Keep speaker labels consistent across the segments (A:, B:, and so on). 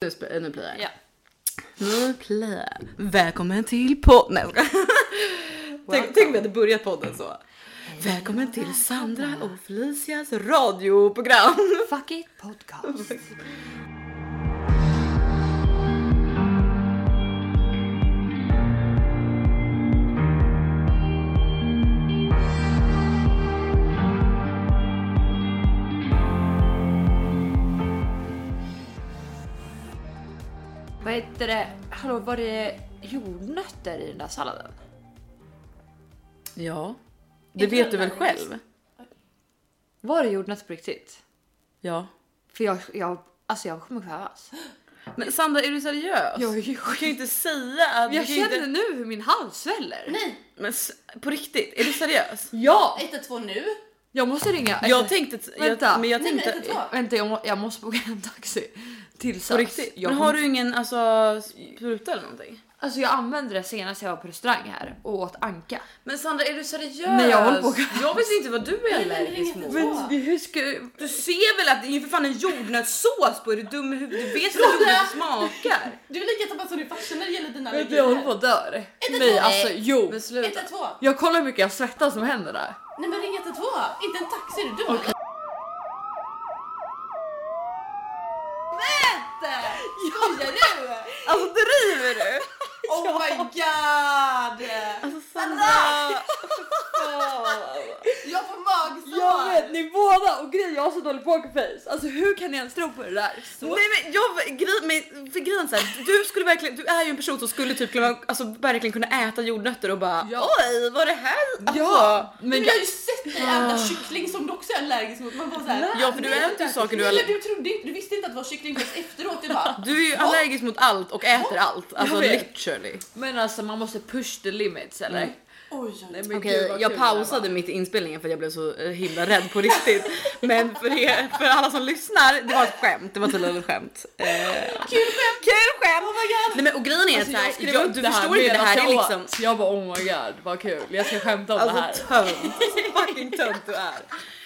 A: Nu sp- nu blir det.
B: Ja.
A: Nu blir det. Välkommen till podden. Nej, jag skojar. tänk, tänk om vi hade börjat podden så. Välkommen till Sandra och Felicias radioprogram.
B: Fuck it podcast. Vad heter det? Hallå, var det jordnötter i den där salladen?
A: Ja, det vet du väl själv?
B: Var det jordnötter på riktigt?
A: Ja.
B: För jag, jag, alltså jag kommer kvävas.
A: Men Sandra, är du seriös?
B: Jag är ju
A: du kan ju inte säga att... du
B: Jag
A: kan ju
B: känner
A: Inte...
B: nu hur min hals sväller.
C: Nej,
A: Men s- på riktigt, är du seriös?
B: Ja!
C: 112 nu.
B: Jag måste ringa.
A: Jag tänkte...
B: Vänta.
A: Jag, men jag
C: Nej, men
A: tänkte...
C: inte ta.
B: Vänta, jag, må, jag måste boka en taxi. Till SAS.
A: på riktigt?
B: Jag,
A: Men har du ingen alltså, spruta eller någonting?
B: Alltså jag använde det senast jag var på restaurang här och åt anka.
A: Men Sandra är du seriös?
B: Nej, jag håller på att-
A: Jag visste inte vad du är
C: Nej, men det är
A: allergisk
C: inget
A: mot.
C: så.
A: Men hur ska... Du ser väl att det är för fan en jordnötssås på? Är du dum i huvudet? Du vet hur jordnöt smakar.
C: Du är lika tappad som din farsa när det gäller dina
B: Vet du, jag håller på att dör.
C: Inte
B: Nej
C: så.
B: alltså
C: Nej.
B: jo.
C: 112!
B: Jag kollar hur mycket jag svettas som händer där.
C: Nej men ring 112! Inte en taxi, är du dum okay. Skojar du?
A: Alltså driver du?
C: Oh my god!
A: Alltså Sandra!
C: Jag får magsår!
B: ni båda och grejen jag har så dålig pokerface. Alltså hur kan ni ens tro på det där?
A: Nej men jag gri, men, för grejen så här, du skulle verkligen, du är ju en person som skulle typ kunna, alltså, verkligen kunna äta jordnötter och bara
B: Ja.
A: oj vad är det här? Alltså,
B: Ja, men
C: Men
B: jag,
C: jag har ju sett dig äta kyckling som du också är allergisk mot. Man bara såhär...
A: Ja för du
C: Nej,
A: äter ju saker du
C: Eller
A: är
C: du trodde inte, du visste inte att det var kyckling först efteråt. Du bara...
A: du är ju allergisk mot allt och äter allt, alltså
B: vet.
A: literally.
B: men alltså man måste push the limits eller?
A: Mm.
C: Oj, oj, oj.
B: men
A: Okej,
B: gud, vad
A: jag
B: kul det här
A: pausade mitt i inspelningen för att jag blev så eh, himla rädd på riktigt. Men för, er, för alla som lyssnar, det var ett skämt. Det var tydligen ett skämt. Eh,
C: Kul skämt!
A: kul skämt!
C: Oh my god!
A: Nej men och grejen är
B: Alltså, jag
A: såhär,
B: skrev
A: jag-
B: upp
A: du
B: det här
A: förstår inte, det
B: medan
A: här
B: jag
A: är
B: åt.
A: liksom
B: Jag bara oh my god vad kul, jag ska skämta om det här.
A: Alltså tönt, så fucking tönt du är.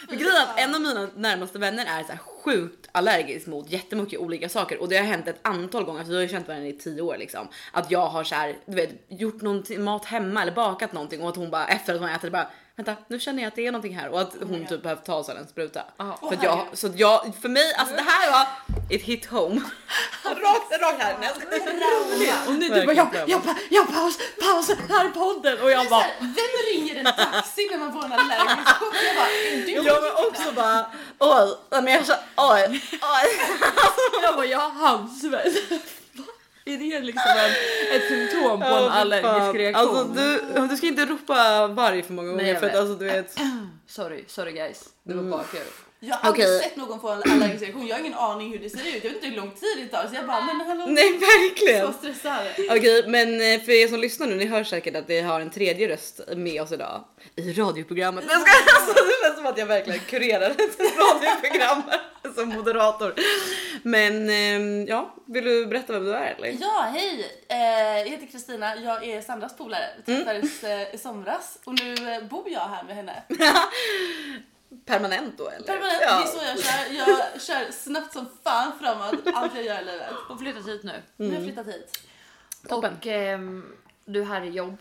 A: Men grejen är att en av mina närmaste vänner är så här sjukt allergisk mot jättemycket olika saker och det har hänt ett antal gånger, alltså jag har ju känt varandra i tio år liksom. Att jag har så här, du vet, gjort någonting, mat hemma eller bakat någonting och att hon bara efter att hon ätit bara vänta nu känner jag att det är någonting här och att hon typ behövt ta sig en spruta.
B: Ja.
A: För, att jag, så att jag, för mig, alltså det här var it hit home. rakt, rakt här. Nej, jag skojar.
B: Och nu du
A: Verkligen
B: bara jag,
A: drömmen.
B: jag, pa- jag paus, paus här i podden och jag
C: Så
B: bara
C: här, Alltså, vem ringer en taxi när man får en allergisk chock? Jag bara, är du
A: Jag var också bara oj, nej, men jag känner oj, oj.
B: jag bara jag har handsvett. Är det liksom en, ett symptom på en
A: Ja, fy
B: allergisk
A: fan.
B: reaktion?
A: Alltså, du, du ska inte ropa varg för många gånger
B: jag
A: för att
B: vet.
A: alltså, du vet.
B: Sorry, sorry guys. Det var bara kul.
C: Jag har aldrig
A: Okej.
C: sett någon få en allergisk reaktion. Jag har ingen aning hur det ser ut. Jag vet inte hur lång tid det tar. Så jag bara, men hallå.
A: Nej
C: Så
A: verkligen.
C: stressad.
A: Okej men eh, för er som lyssnar nu, ni hör säkert att vi har en tredje röst med oss idag i radioprogrammet. Men jag ska, alltså, det känns som att jag verkligen kurerar ett radioprogram som moderator. Men ehm, ja, vill du berätta vem du är eller?
C: Ja, hej! Eh, jag heter Kristina. Jag är Sandras polare. Vi
A: Mm.
C: träffades eh, i somras och nu eh, bor jag här med henne.
A: Permanent då eller?
C: Permanent. Det är
A: Ja.
C: så jag kör. Jag kör snabbt som fan framåt. Allt jag gör i livet.
B: Och flyttat hit nu.
C: Nu
A: Mm.
C: har jag flyttat hit.
A: Toppen.
B: Och ehm, du här är jobb.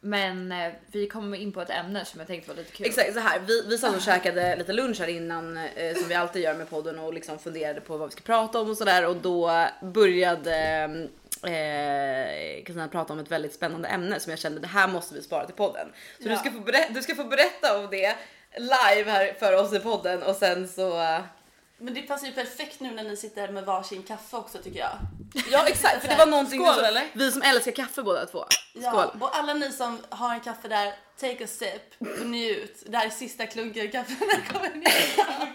B: Men eh, vi kom in på ett ämne som jag tänkte var lite kul.
A: Exakt så här. Vi, vi satt och käkade lite lunch här innan eh, som vi alltid gör med podden och liksom funderade på vad vi ska prata om och sådär och då började eh, Kristina prata om ett väldigt spännande ämne som jag kände det här måste vi spara till podden. Så du,
C: Ja.
A: ska få berätta, du ska få berätta om det live här för oss i podden och sen så. eh,
C: Men det passar ju perfekt nu när ni sitter här med varsin kaffe också tycker jag.
A: Ja exakt för det var någonting
B: Skål,
A: som,
B: eller?
A: vi som älskar kaffe båda två.
C: Ja,
A: Skål.
C: och alla ni som har en kaffe där, take a sip och njut. Det här är sista klunken kaffe när det kommer ner.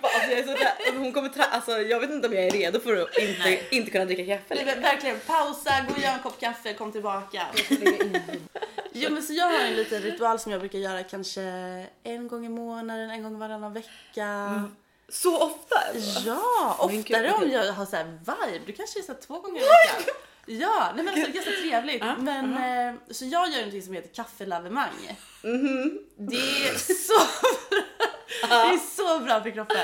A: Alltså, jag är så rädd. Hon kommer tra- alltså, jag vet inte om jag är redo för att inte, inte kunna dricka kaffe
C: Det
A: längre.
C: är Verkligen, pausa, gå och gör en kopp kaffe, kom tillbaka. Jo, men så jag har en liten ritual som jag brukar göra kanske en gång i månaden, en gång varannan vecka.
A: Så ofta? ändå.
C: Ja,
A: Men gud,
C: oftare
A: vad
C: om
A: kul.
C: jag har så här vibe. Du kanske är så här två gånger i veckan. Ja, nej men alltså, det är ganska trevligt. men, eh, Så jag gör någonting som heter kaffelavemang. Det är så bra. Det är så bra för kroppen.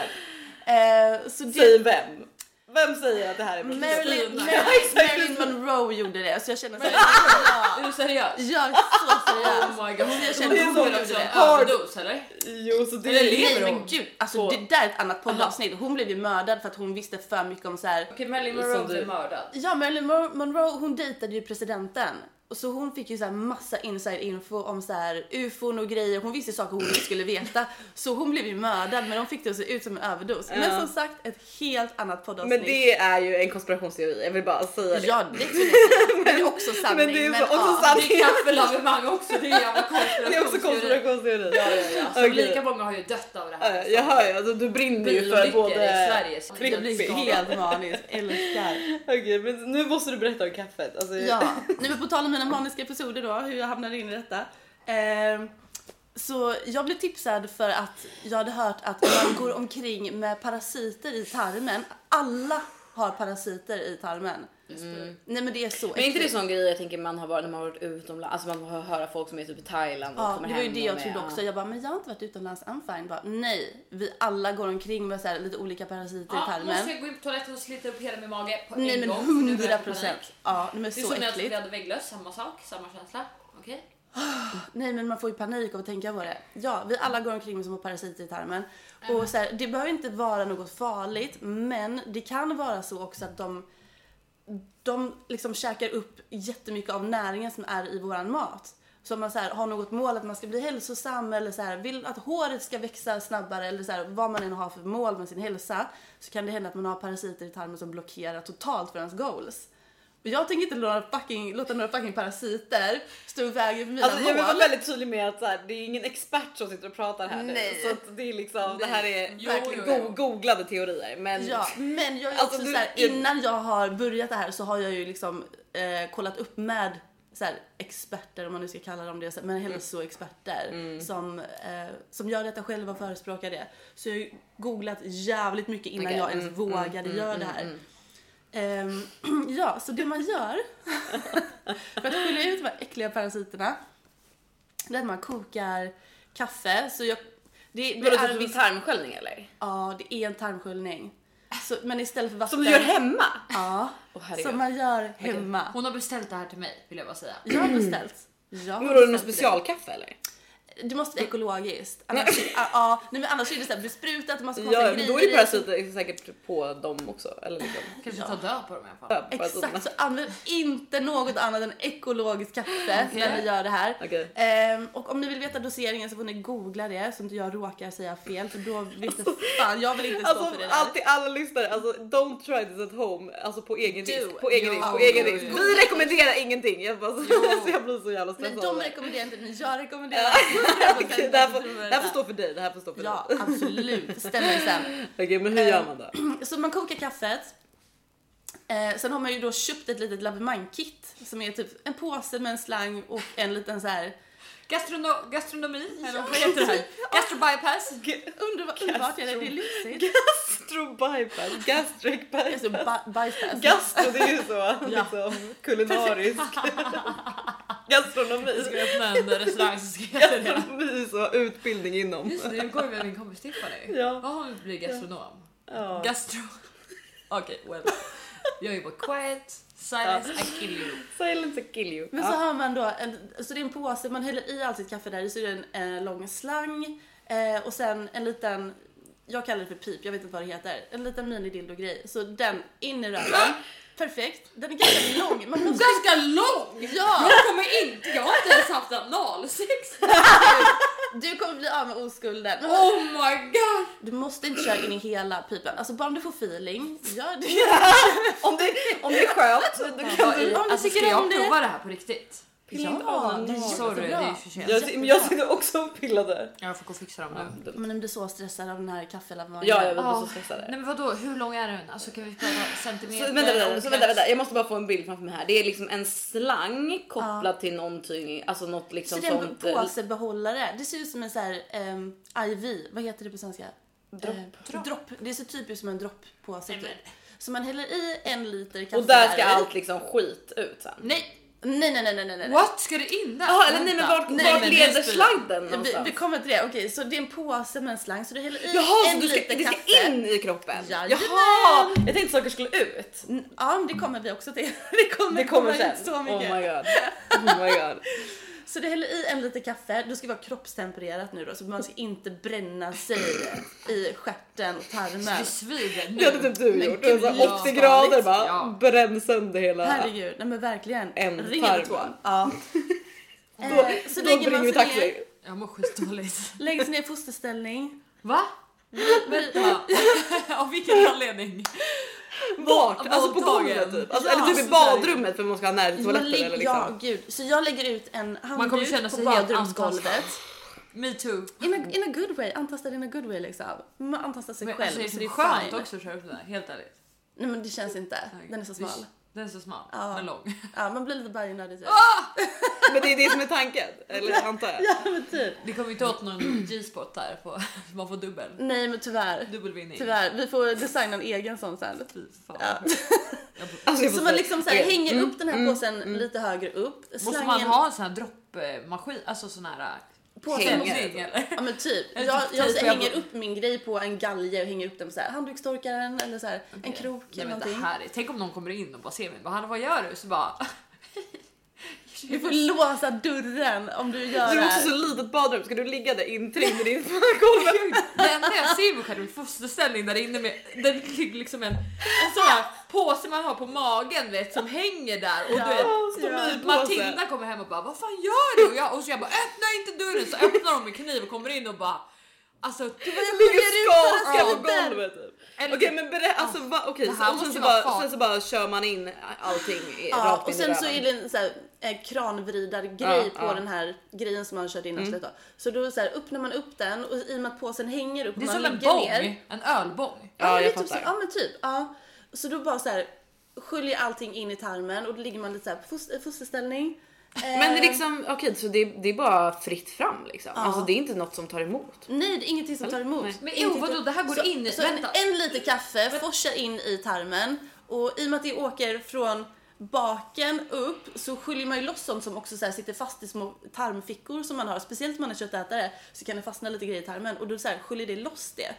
C: Eh, så det,
A: Säg vem? Vem säger att det här är bra?
C: Marilyn,
D: Kristina.
C: Marilyn,
A: Ja, exakt.
C: Marilyn Monroe gjorde det så jag känner såhär,
D: Är du seriös?
C: jag är så seriös.
D: Oh my god, hon
C: känner
D: känner
C: hon
D: hon
A: gjorde
D: också
A: det.
D: överdos eller?
A: Jo, så det
D: Eller
A: är
D: lever
C: Nej
D: hon?
C: men gud, alltså
A: På-
C: det där är ett annat poddavsnitt. Hon blev ju mördad för att hon visste för mycket om så här.
D: Okej, Marilyn
A: Som
D: Monroe
A: du-
D: blev mördad.
C: Ja Marilyn Mo- Monroe hon dejtade ju presidenten. Och så hon fick ju så här massa inside info om så här ufon och grejer. Hon visste saker hon inte skulle veta. Så hon blev ju mördad men de fick det att se ut som en överdos. Men
A: Ja.
C: som sagt ett helt annat poddavsnitt.
A: Men det är ju en konspirationsteori, jag vill bara säga det.
C: Ja det är men, det är också sanning.
A: men det är så- också
C: ja.
A: sanning.
D: Det är kaffelabemang också, det är jävla
A: Det är också
D: konspirationsteori.
A: konspirationsteori.
D: Ja, ja, ja. Så
A: Okej.
D: lika många har ju dött av det
A: Ja,
D: här. liksom.
A: ja, jag hör ju, alltså, du brinner ju för
D: Bilolyckor i
A: både...
D: Sverige. så-
A: tryck-
C: Det blir helt maniskt, älskar.
A: Okej, men nu måste du berätta om kaffet. Alltså,
C: Ja, nu men på tal om mina maniska episoder då, hur jag hamnade in i detta. Ehm, så jag blev tipsad för att jag hade hört att man går omkring med parasiter i tarmen. Alla har parasiter i tarmen. Mm. Nej men det är så
A: Men är inte det
C: äckligt.
A: sån grej jag tänker man har varit när man har varit utomlands, alltså man får höra folk som är typ i Thailand och
C: Ja,
A: kommer
C: det var ju
A: hem
C: det
A: och
C: jag
A: med-
C: trodde
A: ja.
C: också. Jag bara, men jag har inte varit utomlands, I'm fine. Bara, nej, vi alla går omkring med så här, lite olika parasiter i
D: Ja,
C: tarmen.
D: måste jag gå in på toaletten och slita upp hela min mage på
C: typ Nej
D: en
C: men
D: gång. för nu börjar
C: 100
D: jag få panik.
C: procent. Ja, nej, men
D: Det är
C: så
D: som när jag
C: äckligt.
D: spelade vägglöss, samma sak, samma känsla. Okej?
C: Nej men man får ju panik av att tänka på det. Ja, vi alla går omkring med små parasiter i tarmen.
A: Mm.
C: Och så här, det behöver inte vara något farligt men det kan vara så också att de, de liksom käkar upp jättemycket av näringen som är i våran mat. Så om man så här, har något mål att man ska bli hälsosam eller så här, vill att håret ska växa snabbare eller så här, vad man än har för mål med sin hälsa så kan det hända att man har parasiter i tarmen som blockerar totalt för ens goals. Och jag tänker inte låta några fucking, låta några fucking parasiter stå i vägen för mina
A: Alltså, jag
C: mål.
A: vill vara väldigt tydlig med att så här, det är ingen expert som sitter och pratar här
C: Nej.
A: nu. Så att det är liksom, det här är
D: Jo,
A: verkligen
D: jo, jo.
A: go- googlade teorier. Men
C: Ja, men jag är också
A: Alltså, du-
C: så här,
A: jag-
C: innan jag har börjat det här så har jag ju liksom eh, kollat upp med så här, experter om man nu ska kalla dem det, så här, men
A: Mm.
C: hälsoexperter som, eh, som gör detta själva och förespråkar det. Så jag har ju googlat jävligt mycket innan
A: Okej,
C: jag ens
A: mm,
C: vågade göra det här. Ehm, ja, så det man gör för att skilja ut de här äckliga parasiterna det är att man kokar kaffe. Så jag, det, det
A: Vadå
C: är
A: typ
C: viss-
A: vid tarmsköljning eller?
C: Ja, det är en tarmsköljning. Så, men istället för vatten.
A: Som du gör hemma?
C: Ja,
A: Åh, herregud.
C: som man gör hemma.
D: Hon har beställt det här till mig vill jag bara säga.
C: Jag har beställt. Jag har
A: Vadå är det något
C: beställt det.
A: specialkaffe eller?
C: Det måste vara ekologiskt. Annars, ja, ja, nej, men annars är det så här besprutat och massa
A: Ja,
C: konstiga
A: men
C: grejer.
A: då är
C: i.
A: det parasiter säkert på dem också. Eller liksom.
D: Kanske ta död på dem i alla fall.
A: Ja, parasiterna.
C: Exakt, så använd inte något annat än ekologiskt kaffe när ni gör det här.
A: Okej.
C: Ehm, och om ni vill veta doseringen så får ni googla det så inte jag råkar säga fel för då vet inte fan, jag vill inte stå
A: Alltså
C: för det där.
A: alltid alla lyssnare, alltså don't try this at home, alltså på egen
C: Do.
A: risk, på egen
D: Jo,
A: risk, på
D: jo,
A: egen
D: jo,
A: risk.
D: jo.
A: Vi rekommenderar ingenting, jag, bara, så jag blir så jävla
C: Nej,
A: stressad.
C: de
A: av det.
C: rekommenderar inte, men jag rekommenderar.
A: Okej, det, här får, det här får stå för dig, det här får stå för
C: Ja,
A: dig.
C: absolut. Stämmer sen.
A: Okej men hur gör man då?
C: Så man kokar kaffet. Eh, sen har man ju då köpt ett litet lavemang-kit som är typ en påse med en slang och en liten så här.
D: Gastrono- gastronomi? Eller vad heter det här? Gastrobypass?
C: Underbart, underbart är det, det är lyxigt.
A: Gastro bypass, gastric bypass.
C: Alltså ba- bajsfest.
A: Gastro det är ju så liksom, kulinariskt. Gastronomi.
D: Jag ska öppna en restaurang som ska heta det.
A: Gastronomi så utbildning inom.
D: Just det, jag går med min kompis Tiffany.
A: Ja.
D: Vad har vi blir gastronom?
A: Ja.
D: Gastro... Okej, well. Jag är bara quiet, silence, I kill you.
A: Silence will kill you.
C: Men så
A: Ja.
C: har man då en, så det är en påse, man häller i allt sitt kaffe där i, så är det en eh, lång slang eh, och sen en liten, jag kallar det för pip, jag vet inte vad det heter, en liten minidildo-grej. Så den in i röven, perfekt. Den är ganska lång, man måste
D: Ganska lång!
C: Ja!
D: Jag kommer inte, jag har inte ens haft analsex.
C: Du kommer bli av med oskulden.
D: Oh my god!
C: Du måste inte köra in i hela pipen. Alltså bara om du får feeling, gör det.
A: Om det, om det är skönt då kan du...
C: Om du
D: Alltså ska
C: tycker
D: jag
C: om det.
D: prova det här på riktigt?
C: Ja, det är
D: Sorry, det är
C: jättebra.
D: för sent.
A: Jag, men jag sitter också och pillar där.
D: Jag får gå och fixa dem nu.
C: Men den blir så stressad av den här kaffelavmangen.
A: Ja, jag blir
D: Ja.
A: så stressad.
D: Nej men vadå, hur lång är den? Alltså kan vi prata
A: Så,
D: centimeter?
A: vänta, vänta, så
D: omkrets?
A: vänta, vänta, jag måste bara få en bild framför mig här. Det är liksom en slang kopplad till någonting, alltså något
C: Så
A: liksom
C: det är en
A: sånt. eh,
C: påsebehållare. Det ser ut som en sån här ehm, IV, vad heter det på svenska?
A: Dropp.
C: Eh, dropp. Det är så typiskt som en dropppåse
D: Nej,
C: typ.
D: men-
C: Så man häller i en liter kaffe
A: Och där ska
C: i.
A: allt liksom skit ut sen.
D: Nej!
C: Nej, nej, nej, nej, nej. nej.
B: What? Ska det in där?
A: Jaha, eller nej men
B: Vänta.
A: vart,
C: Nej,
A: vart
C: men
A: leder
B: just det.
A: sladden
C: Vi,
A: någonstans?
C: vi kommer till det. Okej, så det är en påse med en slang så du häller i
A: Jaha, så
C: en
A: du ska,
C: liter
A: det ska
C: kaffe.
A: in i kroppen?
C: Jajamän.
A: Jaha! Jag tänkte saker skulle ut.
C: Mm, Ja, men det kommer vi också till. Det kommer,
A: Det kommer sen.
C: ut så
A: oh
C: mycket.
A: my god. Oh my god.
C: så du häller i en liter kaffe. Då ska det vara kroppstempererat nu då så man ska inte bränna sig i stjärten och tarmen.
B: Det svider nu.
A: Det hade typ du
C: Men
A: gjort.
C: gud,
A: Så här
C: ja.
A: 80 grader bara,
B: Ja.
A: bränn sönder hela.
C: Herregud, nej men verkligen.
A: En
C: Ring
A: tarmen.
C: 112. Ja.
A: Då,
C: Eh, så
A: då
C: lägger
A: ringer
C: man
A: vi
C: sig ner,
A: taxi.
B: Jag mår skitdåligt.
C: lägger sig ner i fosterställning.
B: Va? Vänta. Av vilken anledning?
A: Vart? Alltså på
B: våldtagen.
A: golvet typ. Alltså,
C: Ja,
A: eller typ i
C: så där.
A: badrummet för man ska ha nära till
C: Man
A: toaletten
C: ligger,
A: eller
C: ja,
A: liksom.
C: gud. Så jag lägger ut en
B: kommer känna
C: handduk på
B: sig helt
C: badrumsgolvet.
B: Me too.
C: In a, in a good way, antastad in a good way liksom. Man antastar sig
B: Men
C: själv
B: alltså, det är
C: så
B: så
C: det är
B: skönt
C: fine.
B: också att köra upp den här, helt ärligt.
C: Nej men det känns inte, den är så smal.
B: Den är så smal,
C: Ja.
B: men lång.
C: Ja man blir lite bajenödig typ.
A: Men det är det som är tanken. Eller antar jag.
C: Ja men typ.
B: Det kommer inte åt någon G-spot där, på, man får dubbel.
C: Nej men tyvärr.
B: Dubbelvinning.
C: Tyvärr, vi får designa en egen sån sen.
B: Fy fan.
C: Ja.
B: Jag får-
A: Alltså, jag får
C: Så man
A: säga-
C: liksom så här,
A: Okej. Mm,
C: hänger upp den här påsen lite högre upp.
B: Måste man ha en sån här droppmaskin? Alltså sån här...
C: påsen
A: hängare,
B: Hängning eller?
C: Ja men typ.
B: Eller
C: Jag,
B: typ
C: jag så
B: typ
C: här, hänger
B: jag-
C: upp min grej på en galge och hänger upp den på så här handdukstorkaren eller så här, en krok
B: Nej,
C: eller
B: men det
C: någonting.
B: här är, tänk om någon kommer in och bara ser mig bara "Hanna, vad gör du? Så bara...
C: Du får låsa dörren om du gör
A: Du
C: det
A: har också
C: här.
A: så litet badrum, ska du ligga där inträngd i ditt golv?
B: Det enda jag ser mig själv i fosterställning där inne med där ligger liksom en, en sån här påse man har på magen vet som hänger där och du vet
A: Som
C: Ja.
A: en påse.
B: Matilda kommer hem och bara vad fan gör du? Och, jag, och så jag bara öppna inte dörren så öppnar hon med kniv och kommer in och bara alltså du
A: Jag ligger
C: ut
A: skakad
C: den
A: på
C: där.
A: golvet. Typ.
B: Eller
A: Okej
B: typ-
A: men berätta, alltså va, okej,
B: Det
A: så,
B: här
A: och sen,
B: måste
A: så
B: vara
A: bara,
B: fart.
A: sen så bara kör man in allting i,
C: Ja,
A: rakt in
C: och sen
A: i
C: så är
A: röven.
C: det en så här, eh, kranvridargrej
A: Ja,
C: på
A: ja.
C: den här grejen som man kört in arslet då.
B: Mm.
C: Så då så här, öppnar man upp den och i och med att påsen hänger upp
B: Det är
C: och man
B: som en
C: ligger ner.
B: bång, en ölbång.
A: Ja,
C: men
A: jag
C: det är typ så,
A: fattar.
C: ja men typ. Ja. Så då bara så här sköljer allting in i tarmen och då ligger man lite så här på foster, fosterställning.
B: Mm.
C: Eh,
A: Men det är liksom, okej så det, det är bara fritt fram liksom. Alltså det är inte något som tar emot.
C: Nej, det är ingenting som tar emot.
A: Nej.
B: Men
C: Ingenting
B: jo vadå
C: som-
B: det här går
C: så,
B: in i...
C: Så en,
B: Vänta.
C: en liter kaffe forsar in i tarmen och i och med att det åker från baken upp så sköljer man ju loss sånt som också så här sitter fast i små tarmfickor som man har. Speciellt om man är köttätare så kan det fastna lite grejer i tarmen och då så här sköljer det loss det.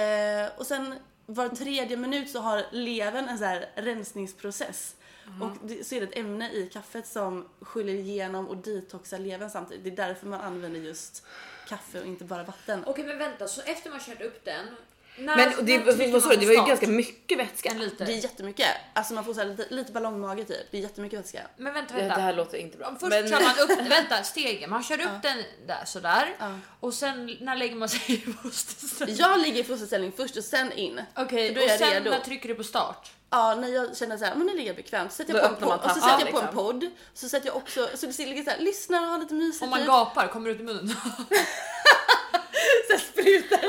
C: Eh, och sen var tredje minut så har levern en så här rensningsprocess. Och det, så är det ett ämne i kaffet som sköljer igenom och detoxar levern samtidigt. Det är därför man använder just kaffe och inte bara vatten.
B: Okej men vänta så efter man kört upp den. När,
A: Men och det, vad sa du, det var ju ganska mycket vätska.
B: typ En liter.
C: Det är jättemycket. Alltså man får så här lite, lite ballongmage typ. Det är jättemycket vätska.
B: Men vänta
A: Det, det
B: vänta.
A: här låter inte bra.
B: Om Först kör man upp vänta, stegen, man kör upp den där sådär
C: Ja.
B: och sen när lägger man sig i fosterställning?
C: Jag ligger i fosterställning först och sen in.
B: Okej
C: För då är
B: och
C: jag
B: sen
C: redo.
B: när trycker du på start?
C: Ja, när jag känner så här, men nu ligger jag bekvämt. Så sätter
A: Då
C: jag på
A: öppnar
C: en
A: man
C: podd och så
A: tappen,
C: sätter jag på en
A: liksom.
C: podd. Så sätter jag också, så det ligger så här, lyssnar och har lite mysigt.
B: Om man
C: typ.
B: gapar, kommer det ut i munnen?
C: så här, sprutar.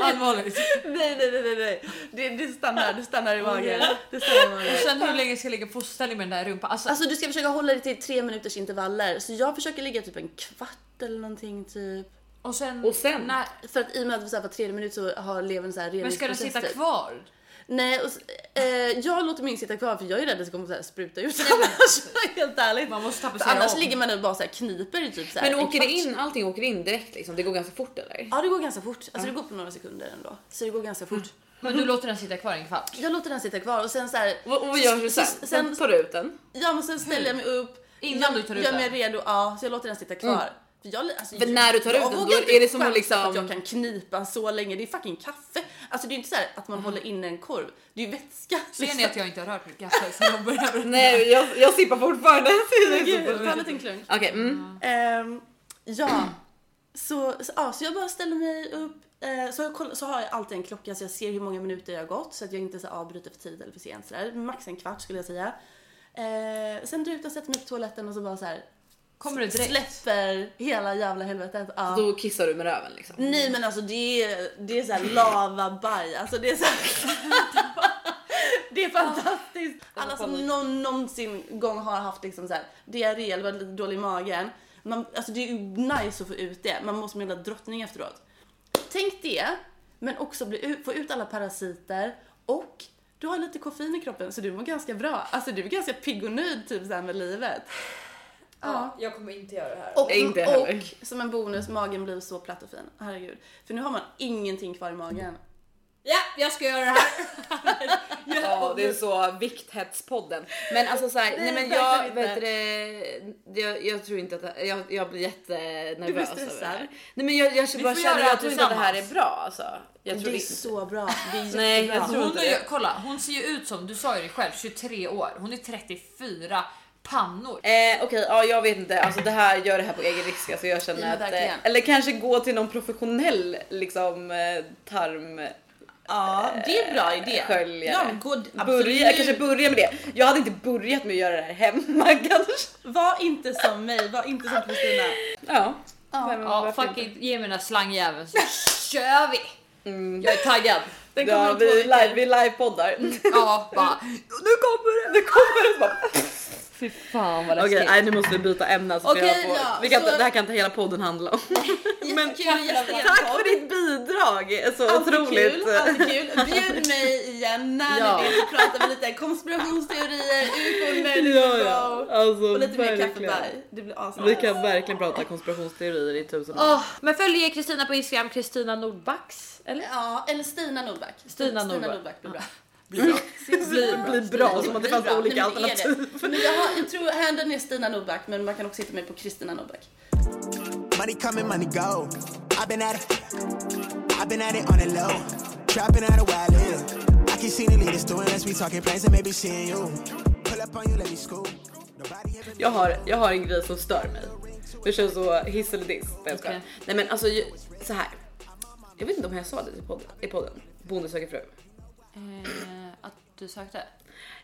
B: Allvarligt.
C: Nej, nej, nej, nej, nej. Det, det stannar, det stannar i magen.
B: Okej.
C: Det stannar i magen.
B: Och sen hur länge ska jag ligga i fosterställning med den där rumpan? Alltså,
C: Alltså du ska försöka hålla det till tre minuters intervaller. Så jag försöker ligga typ en kvart eller någonting typ.
B: och sen...
A: och sen?
B: När,
C: För att i och med att så här, var tredje minut så har levern så här
B: men ska den sitta
C: reningsprocess, typ.
B: kvar?
C: Nej, och, s- eh, jag låter min sitta kvar för jag är rädd att det kommer så här spruta ut annars. Helt ärligt.
B: Man måste
C: För
B: tapetsera
C: annars
B: om.
C: ligger man nu bara så här kniper i typ så här
A: Men
C: en
A: åker det
C: kvart.
A: in, allting åker in direkt liksom? Det går ganska fort eller?
C: Ja, det går ganska fort. Alltså det går på några sekunder ändå. Så det går ganska fort.
B: Men du låter den sitta kvar i en kvart?
C: Jag låter den sitta kvar och sen så här.
A: Och, och vad gör du
C: så-
A: sen?
C: så-
A: Sen tar du ut den?
C: Ja, men sen ställer jag mig upp.
B: Innan
C: jag,
B: du tar ut
C: Gör
B: den?
C: mig redo. Ja, så jag låter den sitta kvar. För jag, alltså,
A: Mm. För när du tar ut
C: jag
A: den,
C: vågar
A: då
C: inte
A: är det som att
C: chansa
A: liksom-
C: på att jag kan knipa så länge. Det är fucking kaffe. Alltså det är inte så här att
A: Mm.
C: man håller inne en korv. Det är ju vätska.
B: Ser ni att jag inte har rört mitt kaffe sen jag började?
A: Nej jag, jag sippar fortfarande.
C: Gud, ta en liten klunk.
A: Okej, mm.
C: Ehm, ja. Så, så, ja, så jag bara ställer mig upp. eh, Så, jag koll, så har jag alltid en klocka så jag ser hur många minuter jag har gått så att jag inte så här avbryter för tid eller för sent. Så där. Max en kvart skulle jag säga. Eh, sen drar jag ut och sätter mig på toaletten och så bara så här
B: Kommer du direkt?
C: släpper hela jävla helvetet. Ja.
A: då kissar du med röven liksom.
C: Nej men alltså det är, det är så här lavabaj. Alltså det är så här... Det är fantastiskt. Alla som någon, någonsin gång har haft liksom så här, diarré eller varit lite dålig i magen. Man, alltså det är ju nice att få ut det. Man måste som en jävla drottning efteråt. Tänk det, men också bli ut, få ut alla parasiter och du har lite koffein i kroppen så du mår ganska bra. Alltså du är ganska pigg och nöjd typ så här med livet.
B: Ja, jag kommer inte göra det här.
C: Och,
A: Nej, inte heller.
C: och som en bonus, magen blev så platt och fin. Herregud. För nu har man ingenting kvar i magen.
B: Ja, jag ska göra det här.
A: Ja, det är så vikthetspodden. Men alltså så här, nej men jag
C: verkligen
A: vet det, jag, jag tror inte att jag, jag blir
C: Du blir
A: jättenervös över det
C: stressad.
A: här. Nej men jag, jag bara
B: får
A: känner
B: göra
A: jag tror inte att det här är
B: tillsammans.
A: bra alltså. Jag tror
C: det är
A: inte.
C: så bra. Det är
A: Nej,
C: jättebra.
A: jag tror
B: Hon
A: inte
B: är, ju-
A: det.
B: kolla, hon ser ju ut som, du sa ju det själv, 23 år. Hon är 34 pannor.
A: Eh, Okej, ja, jag vet inte. Alltså det här gör det här på egen risk. Alltså jag
C: Ja,
A: känner
C: men
A: att,
C: verkligen.
A: eh, eller kanske gå till någon professionell liksom eh, tarm.
C: Ja, det är en bra idé.
A: sköljare.
C: Ja, men god,
A: Börja,
C: absolut.
A: kanske börja med det. Jag hade inte börjat med att göra det här hemma kanske.
C: Var inte som mig, var inte som Kristina.
A: Ja,
C: Ja.
A: men
B: Ja,
A: varför
B: fuck
A: inte?
B: it, ge mig den där slangjäveln så kör vi! Jag är taggad.
C: Den kommer
A: Ja,
C: om två
A: vi,
C: veckor.
A: live, vi livepoddar.
B: Ja, bara.
A: Nu kommer det, nu kommer det! Bara-
B: Fy fan vad
A: Okej, nej, nu måste vi byta ämne. Alltså, för
C: Okej,
A: jag får-
C: ja,
A: vi kan,
C: så-
A: inte- Det här kan inte hela podden handla om. Men
C: Jättekul gästar.
A: tack för ditt bidrag! Så
C: Alltid
A: otroligt.
C: kul, alltid kul. Bjud mig igen när
A: Ja.
C: ni vill så pratar vi lite konspirationsteorier, ufon,
A: Ja,
C: mördare
A: ja. Alltså,
C: och lite mer
A: verkligen.
C: kaffebaj. Det blir asbra.
A: Vi kan verkligen prata konspirationsteorier i tusen år.
B: Åh, men följ Kristina på Instagram, Kristina Nordbacks. Eller?
C: Ja, eller Stina Nordback.
B: Stina Nordback.
C: blir bra.
A: Det blir bra som att det
C: Blir
A: fanns
C: bra.
A: olika
C: Nej, men är det.
A: alternativ.
C: Men jag, har, jag tror handen är Stina Nordback men man kan också hitta mig på Kristina Nordback.
E: Money coming, money go. I've been at it. I've been at it on the low. Trapping out a while in. I keep seeing the leaders doing unless we talking plans and maybe seeing you. Pull up on you, let me scoop. Nobody ever
A: Jag har, jag har en grej som stör mig. Vi kör så hiss eller diss. Nej, jag skojar.
B: Okej.
A: Nej men alltså ju- så här. Jag vet inte om jag sa det i podden. I podden. Bonde söker fru.
B: Eh, att du sökte?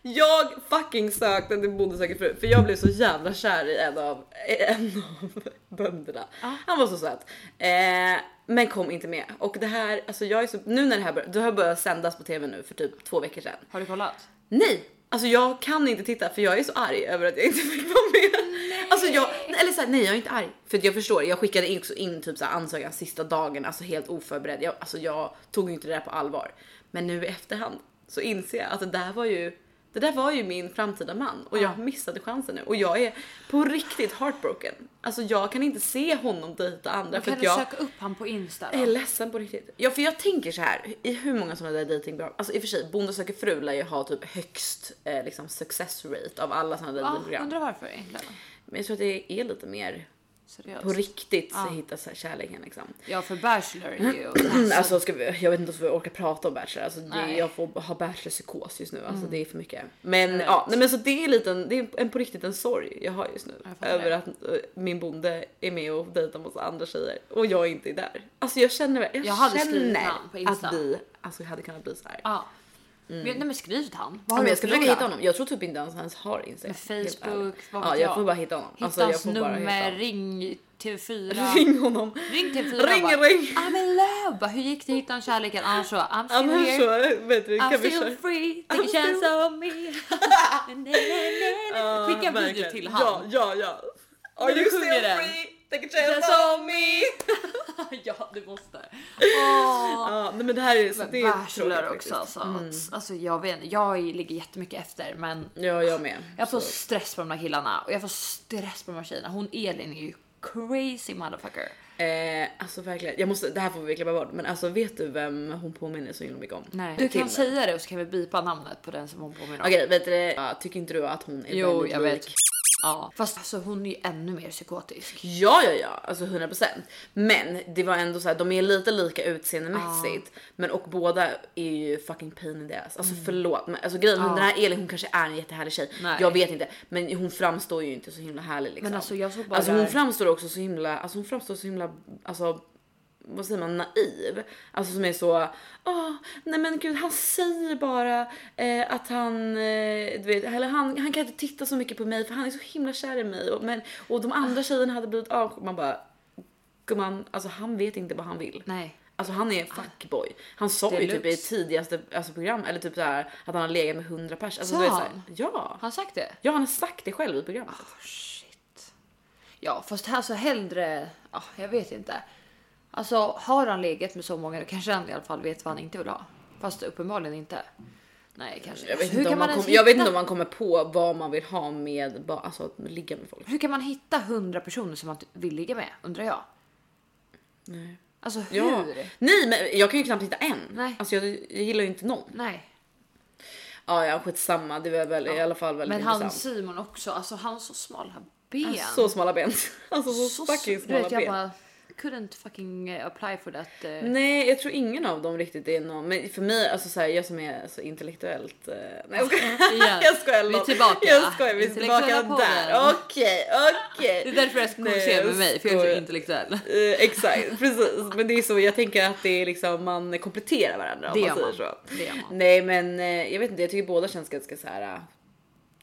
A: Jag fucking sökte till Bonde söker fru för jag blev så jävla kär i en av, en av bönderna. Han var så söt. Eh, men kom inte med. Och det här, alltså jag är så, nu när det här börjar, det har börjat sändas på tv nu för typ två veckor sedan.
B: Har du kollat?
A: Nej! Alltså jag kan inte titta för jag är så arg över att jag inte fick vara med. Alltså jag, eller så här, nej jag är inte arg. För att jag förstår, jag skickade in, också in typ så här ansökan sista dagen, alltså helt oförberedd. Jag, alltså jag tog ju inte det där på allvar. Men nu i efterhand så inser jag att det där var ju, det där var ju min framtida man och jag missade chansen nu. Och jag är på riktigt heartbroken. Alltså jag kan inte se honom dejta andra för
B: Kan
A: att
B: du
A: jag
B: söka upp han på Insta?
A: jag är
B: Då?
A: ledsen på riktigt. Ja, för jag tänker så här i hur många sådana där datingprogram, alltså i och för sig Bonde söker fru lär ju ha typ högst eh, liksom success rate av alla sådana
B: Ja,
A: datingprogram.
B: undrar varför egentligen.
A: Men jag tror att det är lite mer på
B: Seriöst.
A: riktigt så hitta så här kärleken liksom.
B: Ja, för Bachelor är ju...
A: Alltså ska vi, jag vet inte om vi orkar prata om Bachelor, alltså det,
B: Nej. Mm.
A: jag får ha bachelorpsykos just nu, alltså det är för mycket. Men ja, nej, men så det är lite en, det är en på riktigt en sorg jag har just nu
B: Jag fattar
A: över
B: det.
A: att eh, min bonde är med och dejtar massa andra tjejer och jag inte är där. Alltså jag känner, jag,
B: Jag hade skrivit
A: känner
B: namn på Insta.
A: att vi alltså, hade kunnat bli så här.
B: Ja. Men, nej men skriv till han. Vad
A: Mm. Ja,
B: har
A: men
B: du
A: jag
B: att
A: ska försöka
B: förlora?
A: hitta honom. Jag tror typ inte ens han har Instagram.
B: Med
A: helt ärligt.
B: Facebook, vad
A: Ja,
B: vet
A: jag
B: jag.
A: får bara hitta honom.
B: Hitta
A: Alltså, jag
B: hans
A: får bara hitta
B: nummer,
A: honom.
B: ring TV4.
A: Ring honom.
B: Ring till fyra
A: Ring,
B: bara,
A: ring.
B: I'm in love! Bara, Hur gick det? Hittade han kärleken? Annars så, I'm still
A: Annars
B: here.
A: så vet du,
B: I'm
A: kan vi
B: still
A: köra.
B: free, take a chance on me. Na, na, na, na. Skicka en video
A: verkligen.
B: till
A: Ja,
B: han.
A: ja, ja. Are
B: Men
A: you
B: du
A: still
B: sjunger den.
A: free? Take a chance
B: Chance
A: on me.
B: Ja, du måste. Åh.
A: Ja, nej, men det här är så det är tråkigt
B: Bachelor också
A: faktiskt. Mm.
B: alltså. alltså. Jag vet inte, jag ligger jättemycket efter men
A: Ja, jag med.
B: jag får stress på de där killarna och jag får stress på de här tjejerna. Hon Elin är ju crazy motherfucker.
A: Eh, alltså verkligen. Jag måste, det här får vi klippa bort, men alltså vet du vem hon påminner så himla mycket om?
B: Du
A: Till mig.
B: kan säga det och så kan vi bipa namnet på den som hon påminner om.
A: Okej, vet du det? Ja, Tycker inte du att hon är
B: Jo,
A: väldigt
B: jag
A: lik
B: vet. Ja. Fast alltså, hon är ju ännu mer psykotisk.
A: Ja, ja, ja, alltså 100%. Men det var ändå så här, de är lite lika utseendemässigt, men och båda är ju fucking pain in the ass. Alltså förlåt, men alltså grejen med den här Elin, hon kanske är en jättehärlig tjej.
B: Mm. Nej.
A: Jag vet inte, men hon framstår ju inte så himla härlig liksom.
B: Men alltså, jag såg bara
A: Alltså, hon
B: där-
A: framstår också så himla, alltså hon framstår så himla, alltså vad säger man, naiv. Alltså som är så, åh, nej men gud han säger bara eh, att han, eh, du vet, eller han, han kan inte titta så mycket på mig för han är så himla kär i mig. Och, men, och de
B: Ah.
A: andra tjejerna hade blivit avskydd. Man bara, gumman, alltså han vet inte vad han vill.
B: Nej.
A: Alltså han är
B: Ah.
A: fuckboy. Han sa ju typ i
B: Deluxe.
A: tidigaste alltså, program, eller typ såhär att han har legat med 100 pers. Alltså,
B: Sa
A: du vet, så här,
B: han?
A: ja.
B: Har han sagt det?
A: ja, han har sagt det själv i programmet.
B: Shit. Ja, fast här så hellre... Ja, jag vet inte. Alltså, har han legat med så många då kanske han i alla fall vet vad han inte vill ha. Fast uppenbarligen inte. Nej, kanske
A: Jag vet,
B: Alltså, Hur
A: inte
B: kan
A: om, man
B: ens
A: kom, jag vet
B: hitta-
A: inte om man kommer på vad man vill ha med ba- alltså att ligga med folk.
B: Hur kan man hitta hundra personer som man typ vill ligga med undrar jag?
A: Nej.
B: Alltså hur?
A: Ja. Nej, men jag kan ju knappt hitta en.
B: Nej.
A: Alltså jag, jag gillar ju inte någon.
B: Nej,
A: Ja, ja, skitsamma. Det var väl i alla fall väldigt
B: men han
A: intressant.
B: Simon också. Alltså han har så smala ben.
A: Så smala ben. Alltså så,
B: Så-
A: fucking
B: du
A: smala
B: vet, jag
A: ben.
B: bara couldn't fucking eh, apply for that. eh,
A: Nej, jag tror ingen av dem riktigt är någon. Men för mig, alltså så här, jag som är så intellektuellt. eh, Nej, jag skojar.
B: Igen.
A: Jag skojar.
B: Vi är
A: lol.
B: tillbaka.
A: Jag skojar. Vi är
B: Intellektuella
A: tillbaka där.
B: podden.
A: Okej, okej.
B: Det är därför jag kommunicerar med mig, för jag är så intellektuell.
A: Eh, exakt, precis. Men det är så jag tänker att det är liksom man kompletterar varandra om
B: Det
A: man
B: gör
A: säger så.
B: man. Det gör man.
A: Nej, men eh, jag vet inte. Jag tycker båda känns ganska så här eh,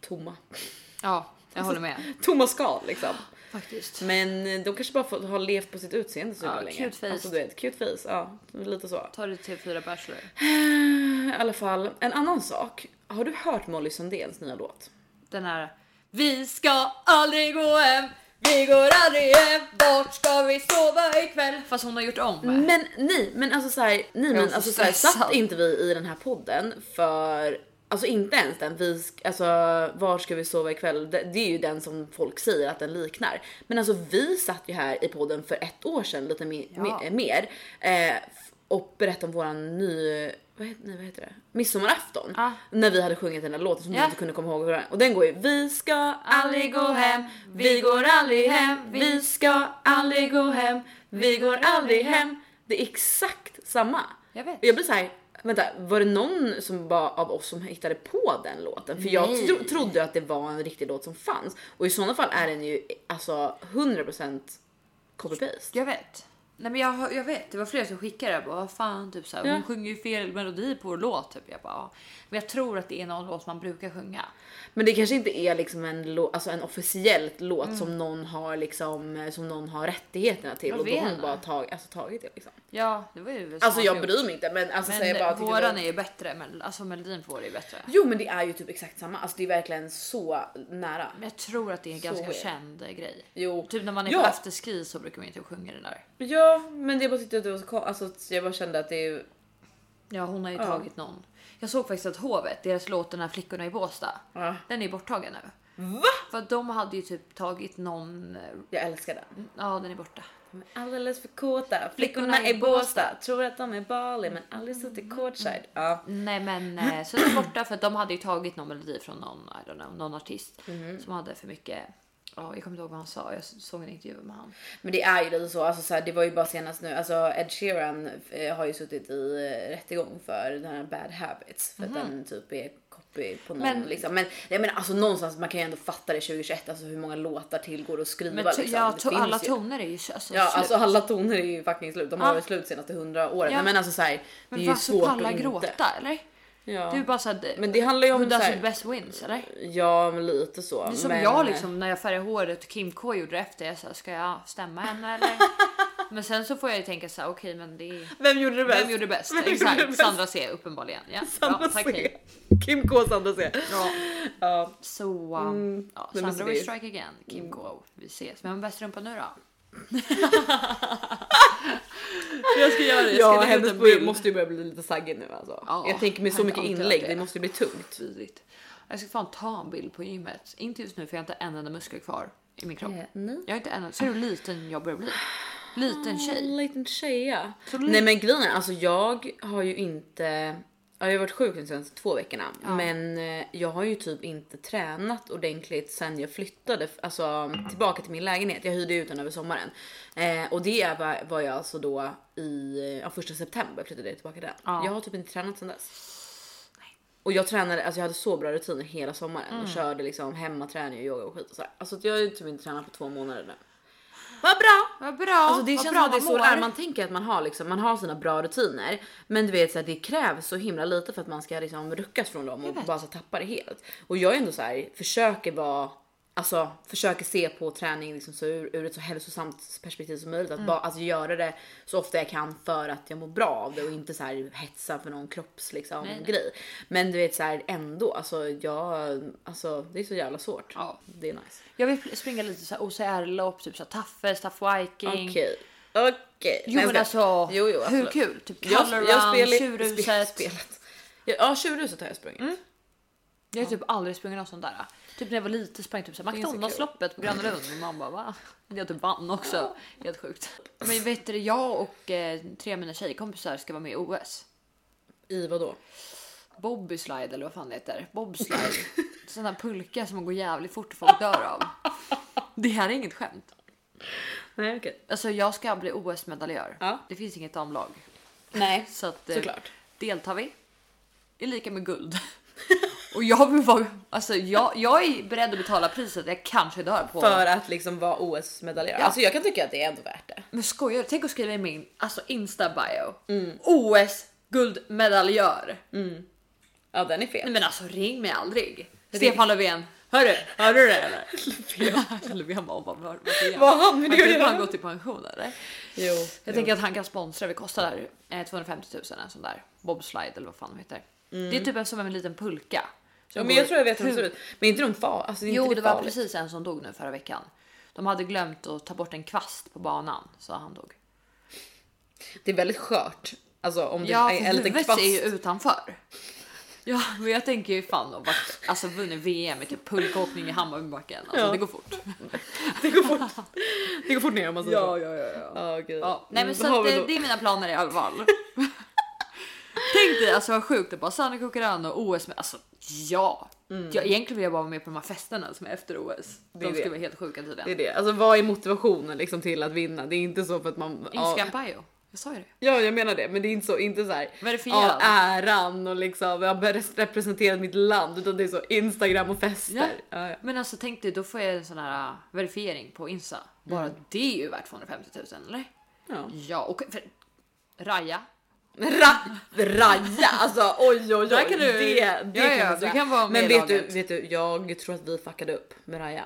A: tomma,
B: Ja, jag håller med
A: tomma skal liksom.
B: faktiskt.
A: Men eh, de kanske bara får, har levt på sitt utseende så
B: Ja,
A: ja, länge.
B: cute face.
A: Alltså, du vet, cute face. Ja, lite så.
B: Ta det till fyra Bachelor.
A: I alla fall en annan sak. Har du hört Molly Sundéns nya låt?
B: Den här. Vi ska aldrig gå hem. Vi går aldrig hem. Vart ska vi sova ikväll? Fast hon har gjort om.
A: Men nej, men alltså så här, nej, men
B: så
A: alltså så här,
B: stressad.
A: satt inte vi i den här podden för alltså inte ens den vi sk- alltså var ska vi sova ikväll? Det, det är ju den som folk säger att den liknar, men alltså vi satt ju här i podden för ett år sedan lite mi-
B: Ja.
A: mi- mer eh, f- och berättade om våran ny vad heter, nej, vad heter det? Midsommarafton
B: Ja.
A: när vi hade sjungit den där låten som
B: Ja.
A: vi inte kunde komma ihåg. hur den- Och den går ju vi ska aldrig gå hem, vi går aldrig hem, vi ska aldrig gå hem, vi går aldrig hem. Det är exakt samma.
B: Jag vet.
A: Och jag blir så här, vänta, var det någon som bara av oss som hittade på den låten? För jag
B: Nej.
A: tro, trodde att det var en riktig låt som fanns och i sådana fall är den ju alltså 100% copy-paste.
B: Jag vet. Nej men jag, har- jag vet, det var flera som skickade det. Jag bara, Vad fan, typ så här, hon sjunger ju fel melodi på vår låt. Typ. Jag bara, ja. Men jag tror att det är någon låt man brukar sjunga.
A: Men det kanske inte är liksom en, lå- alltså en officiell låt som någon har liksom som någon har rättigheterna till
B: Vad
A: och då har
B: vet
A: hon
B: Mm. jag?
A: bara tag, alltså, tagit det liksom.
B: Ja, det var ju
A: Alltså jag
B: smart
A: bryr
B: gjort.
A: mig inte men alltså säger
B: Men
A: bara
B: eh,
A: att det
B: våran
A: var-
B: är ju bättre. Men, alltså melodin på vår är ju bättre.
A: Jo men det är ju typ exakt samma, alltså det är verkligen så nära.
B: Men jag tror att det är en
A: Så
B: ganska
A: är det.
B: känd grej.
A: Jo.
B: Typ när man är
A: Ja.
B: på afterski så brukar man ju typ sjunga den där.
A: Ja men jag bara tyckte att det var så konstigt, alltså att jag bara kände att det är ju...
B: Ja, hon har ju tagit någon. Jag såg faktiskt att Hovet, deras låt den här Flickorna i Båstad,
A: Ja.
B: den är borttagen nu.
A: Va?
B: För att de hade ju typ tagit någon, eh,
A: Jag älskar den.
B: ja den är borta.
A: De är alldeles för kåta, flickorna i Mm. Båstad, tror att de är Bali men aldrig suttit courtside. Ja.
B: Nej men eh,
A: Mm.
B: så den är borta för att de hade ju tagit någon melodi från någon, I don't know, någon artist
A: Mm.
B: som hade för mycket, ja jag kommer inte ihåg vad han sa, jag såg en intervju med han.
A: Men det är ju lite så, alltså så här, det var ju bara senast nu, alltså Ed Sheeran eh, har ju suttit i eh, rättegång för den här Bad Habits för att den typ är copy på någon men,
B: Men-
A: liksom. Men jag menar alltså någonstans man kan ju ändå fatta det 2021, alltså hur många låtar till går att skriva
B: Men to-
A: liksom.
B: ja,
A: Det
B: to-
A: finns
B: alla
A: ju.
B: toner är ju så- alltså,
A: Ja
B: slut.
A: alltså alla toner är ju fucking slut, de har
B: Ja.
A: varit slut senaste hundra åren.
B: Ja.
A: Nej, Men alltså så här, det är
B: Men
A: ju
B: varför
A: svårt
B: pallar
A: att inte.
B: gråta eller?
A: Ja.
B: Det är ju bara såhär,
A: Men det handlar ju om så
B: who does
A: här-
B: it best wins eller?
A: Ja men lite så.
B: Det är som
A: men,
B: jag liksom när jag färgade håret och Kim K gjorde det efter. Jag sa, ska jag stämma henne eller? men sen så får jag ju tänka så här, okej men det är...
A: Vem gjorde det bäst?
B: Vem gjorde bäst?
A: Vem gjorde
B: Exakt,
A: det bäst?
B: Sandra C uppenbarligen. Ja,
A: Sandra
B: bra, tack
A: C.
B: hej.
A: Kim K Sandra C.
B: Ja.
A: Ja.
B: Så um, ja,
A: men så
B: Sandra
A: det
B: will
A: är-
B: strike again. Kim K, vi ses. Vem har bäst rumpa nu då? jag ska göra det. Jag ska
A: Ja,
B: lägga
A: hennes
B: ut en
A: bur
B: bild.
A: måste ju börja bli lite saggig nu alltså.
B: Ja,
A: jag tänker med så
B: hade
A: mycket
B: alltid
A: inlägg,
B: varit
A: det
B: det.
A: måste bli tungt.
B: Vidrigt. Jag ska fan ta en bild på gymmet. Inte just nu för jag har inte en enda muskel kvar i min kropp.
A: Eh, nej.
B: Jag har inte en enda. Ser du hur liten jag börjar bli? Liten tjej.
A: En liten tjeja.
B: Så li-
A: Nej men grejen är, alltså jag har ju inte, ja, jag har varit sjuk de senaste två veckorna men eh, jag har ju typ inte tränat ordentligt sen jag flyttade alltså, tillbaka till min lägenhet. Jag hyrde ut den över sommaren eh, och det är vad- vad jag alltså då i ja, första september flyttade jag tillbaka till den.
B: Ja.
A: Jag har typ inte tränat sen dess. Och jag tränade, alltså jag hade så bra rutiner hela sommaren och
B: Mm.
A: körde liksom hemmaträning och yoga och skit och sådär. Alltså att jag har ju typ inte tränat på två månader nu. Vad bra!
B: Vad bra.
A: Alltså det
B: vad
A: känns
B: bra
A: som att det är
B: man
A: så
B: mår.
A: där man tänker att man har liksom, man har sina bra rutiner. Men du vet så här, det krävs så himla lite för att man ska liksom ruckas från dem och
B: vet.
A: bara så tappa det helt. Och jag är ändå så här, försöker vara, alltså försöker se på träning liksom så ur, ur ett så hälsosamt perspektiv som möjligt. Att
B: Mm.
A: bara alltså, göra det så ofta jag kan för att jag mår bra av det och inte så här hetsa för någon kropps liksom
B: Nej, nej.
A: grej. Men du vet så här ändå, alltså jag, alltså det är så jävla svårt.
B: Ja.
A: Det är nice.
B: Jag vill springa lite så här OCR-lopp, typ så här Taffes, Taff Viking.
A: Okej. Okej.
B: Jo men alltså,
A: Jo, jo,
B: hur
A: absolut.
B: kul? Typ
A: Jag,
B: Color
A: jag
B: Run,
A: spelar
B: Tjurhuset. Mm.
A: spelet. Ja, tjurhuset har jag sprungit.
B: Jag har typ aldrig sprungit något sånt där. Typ när jag var liten sprang jag typ såhär
A: så kul.
B: McDonalds-loppet på Gröna Lund. Min mamma bara va? Jag typ vann också. Helt sjukt. Men vet du, jag och eh, tre av mina tjejkompisar ska vara med i OS.
A: I vad då?
B: Bobbyslide eller vad fan det heter. Bobslide. Sån här pulka som går jävligt fort och folk dör av. Det här är inget skämt.
A: Nej, okej.
B: Alltså jag ska bli OS-medaljör.
A: Ja.
B: Det finns inget damlag.
A: Nej,
B: Så att, eh,
A: såklart.
B: deltar vi är lika med guld. Och jag vill vara, alltså jag, jag är beredd att betala priset jag kanske dör på.
A: För att liksom vara OS-medaljör. Alltså jag kan tycka att det är ändå värt det.
B: Men skojar du? Tänk att skriva i min alltså insta bio.
A: Mm.
B: OS guldmedaljör.
A: Ja, den är
B: Nej
A: fel.
B: men alltså ring mig aldrig. Stefan Löfven. Hörru, hörde du det eller? Löfven- Löfven bara, bara, bara,
A: Vad har han med
B: Men
A: det
B: gud,
A: att
B: har han
A: göra?
B: gått i pension eller?
A: Jo,
B: Jag tänker att han kan sponsra. Det kostar eh, 250 000 en sån där bobslide eller vad fan de heter. Det är typ en- som en liten pulka. som
A: Mm. ja, men jag
B: går
A: tror jag vet hur de
B: hur-
A: ser ut. Men inte de far. Alltså, inte
B: Jo, det var
A: farligt.
B: precis en som dog nu förra veckan. De hade glömt att ta bort en kvast på banan så han dog.
A: Det är väldigt skört. Alltså om det
B: Ja,
A: är en liten
B: huvudet
A: kvast.
B: är ju utanför. Ja, men jag tänker ju fan om att alltså vunnit VM i typ pulkaåkning i Hammarbybacken. Alltså
A: Ja.
B: det går fort.
A: Det går fort. Det går fort ner om man säger så.
B: ja, ja.
A: Ja, gud.
B: ja. Nej, men
A: Mm,
B: så
A: då har
B: att,
A: vi
B: eh,
A: då-
B: det är mina planer i alla fall. Tänk dig alltså vad sjukt att bara Sanna Kukarano och OS med. Alltså ja, jag, egentligen vill jag bara vara med på de här festerna som är efter OS.
A: är
B: De skulle
A: Mm. det.
B: vara helt sjuka tydligen.
A: Det är det. Alltså vad är motivationen liksom till att vinna? Det är inte så för att man... Ja,
B: Instagram bio. Jag sa ju det.
A: ja jag menar det men det är inte så, inte så här
B: Verifierad.
A: ja, äran och liksom jag har bäst representerat mitt land utan det är så Instagram och
B: Ja.
A: fester. Ja, ja.
B: Men alltså tänk dig, då får jag en sån här äh, verifiering på Insta. Bara
A: Mm.
B: det är ju värt 250 000 eller?
A: Ja.
B: Ja, och för, Raja.
A: Ra- Raja alltså oj oj oj.
B: Där kan du-
A: det, det
B: Ja, ja,
A: kan jag
B: du
A: säga.
B: kan vara med
A: Men
B: i
A: vet du,
B: laget.
A: vet du, jag tror att vi fuckade upp med Raja.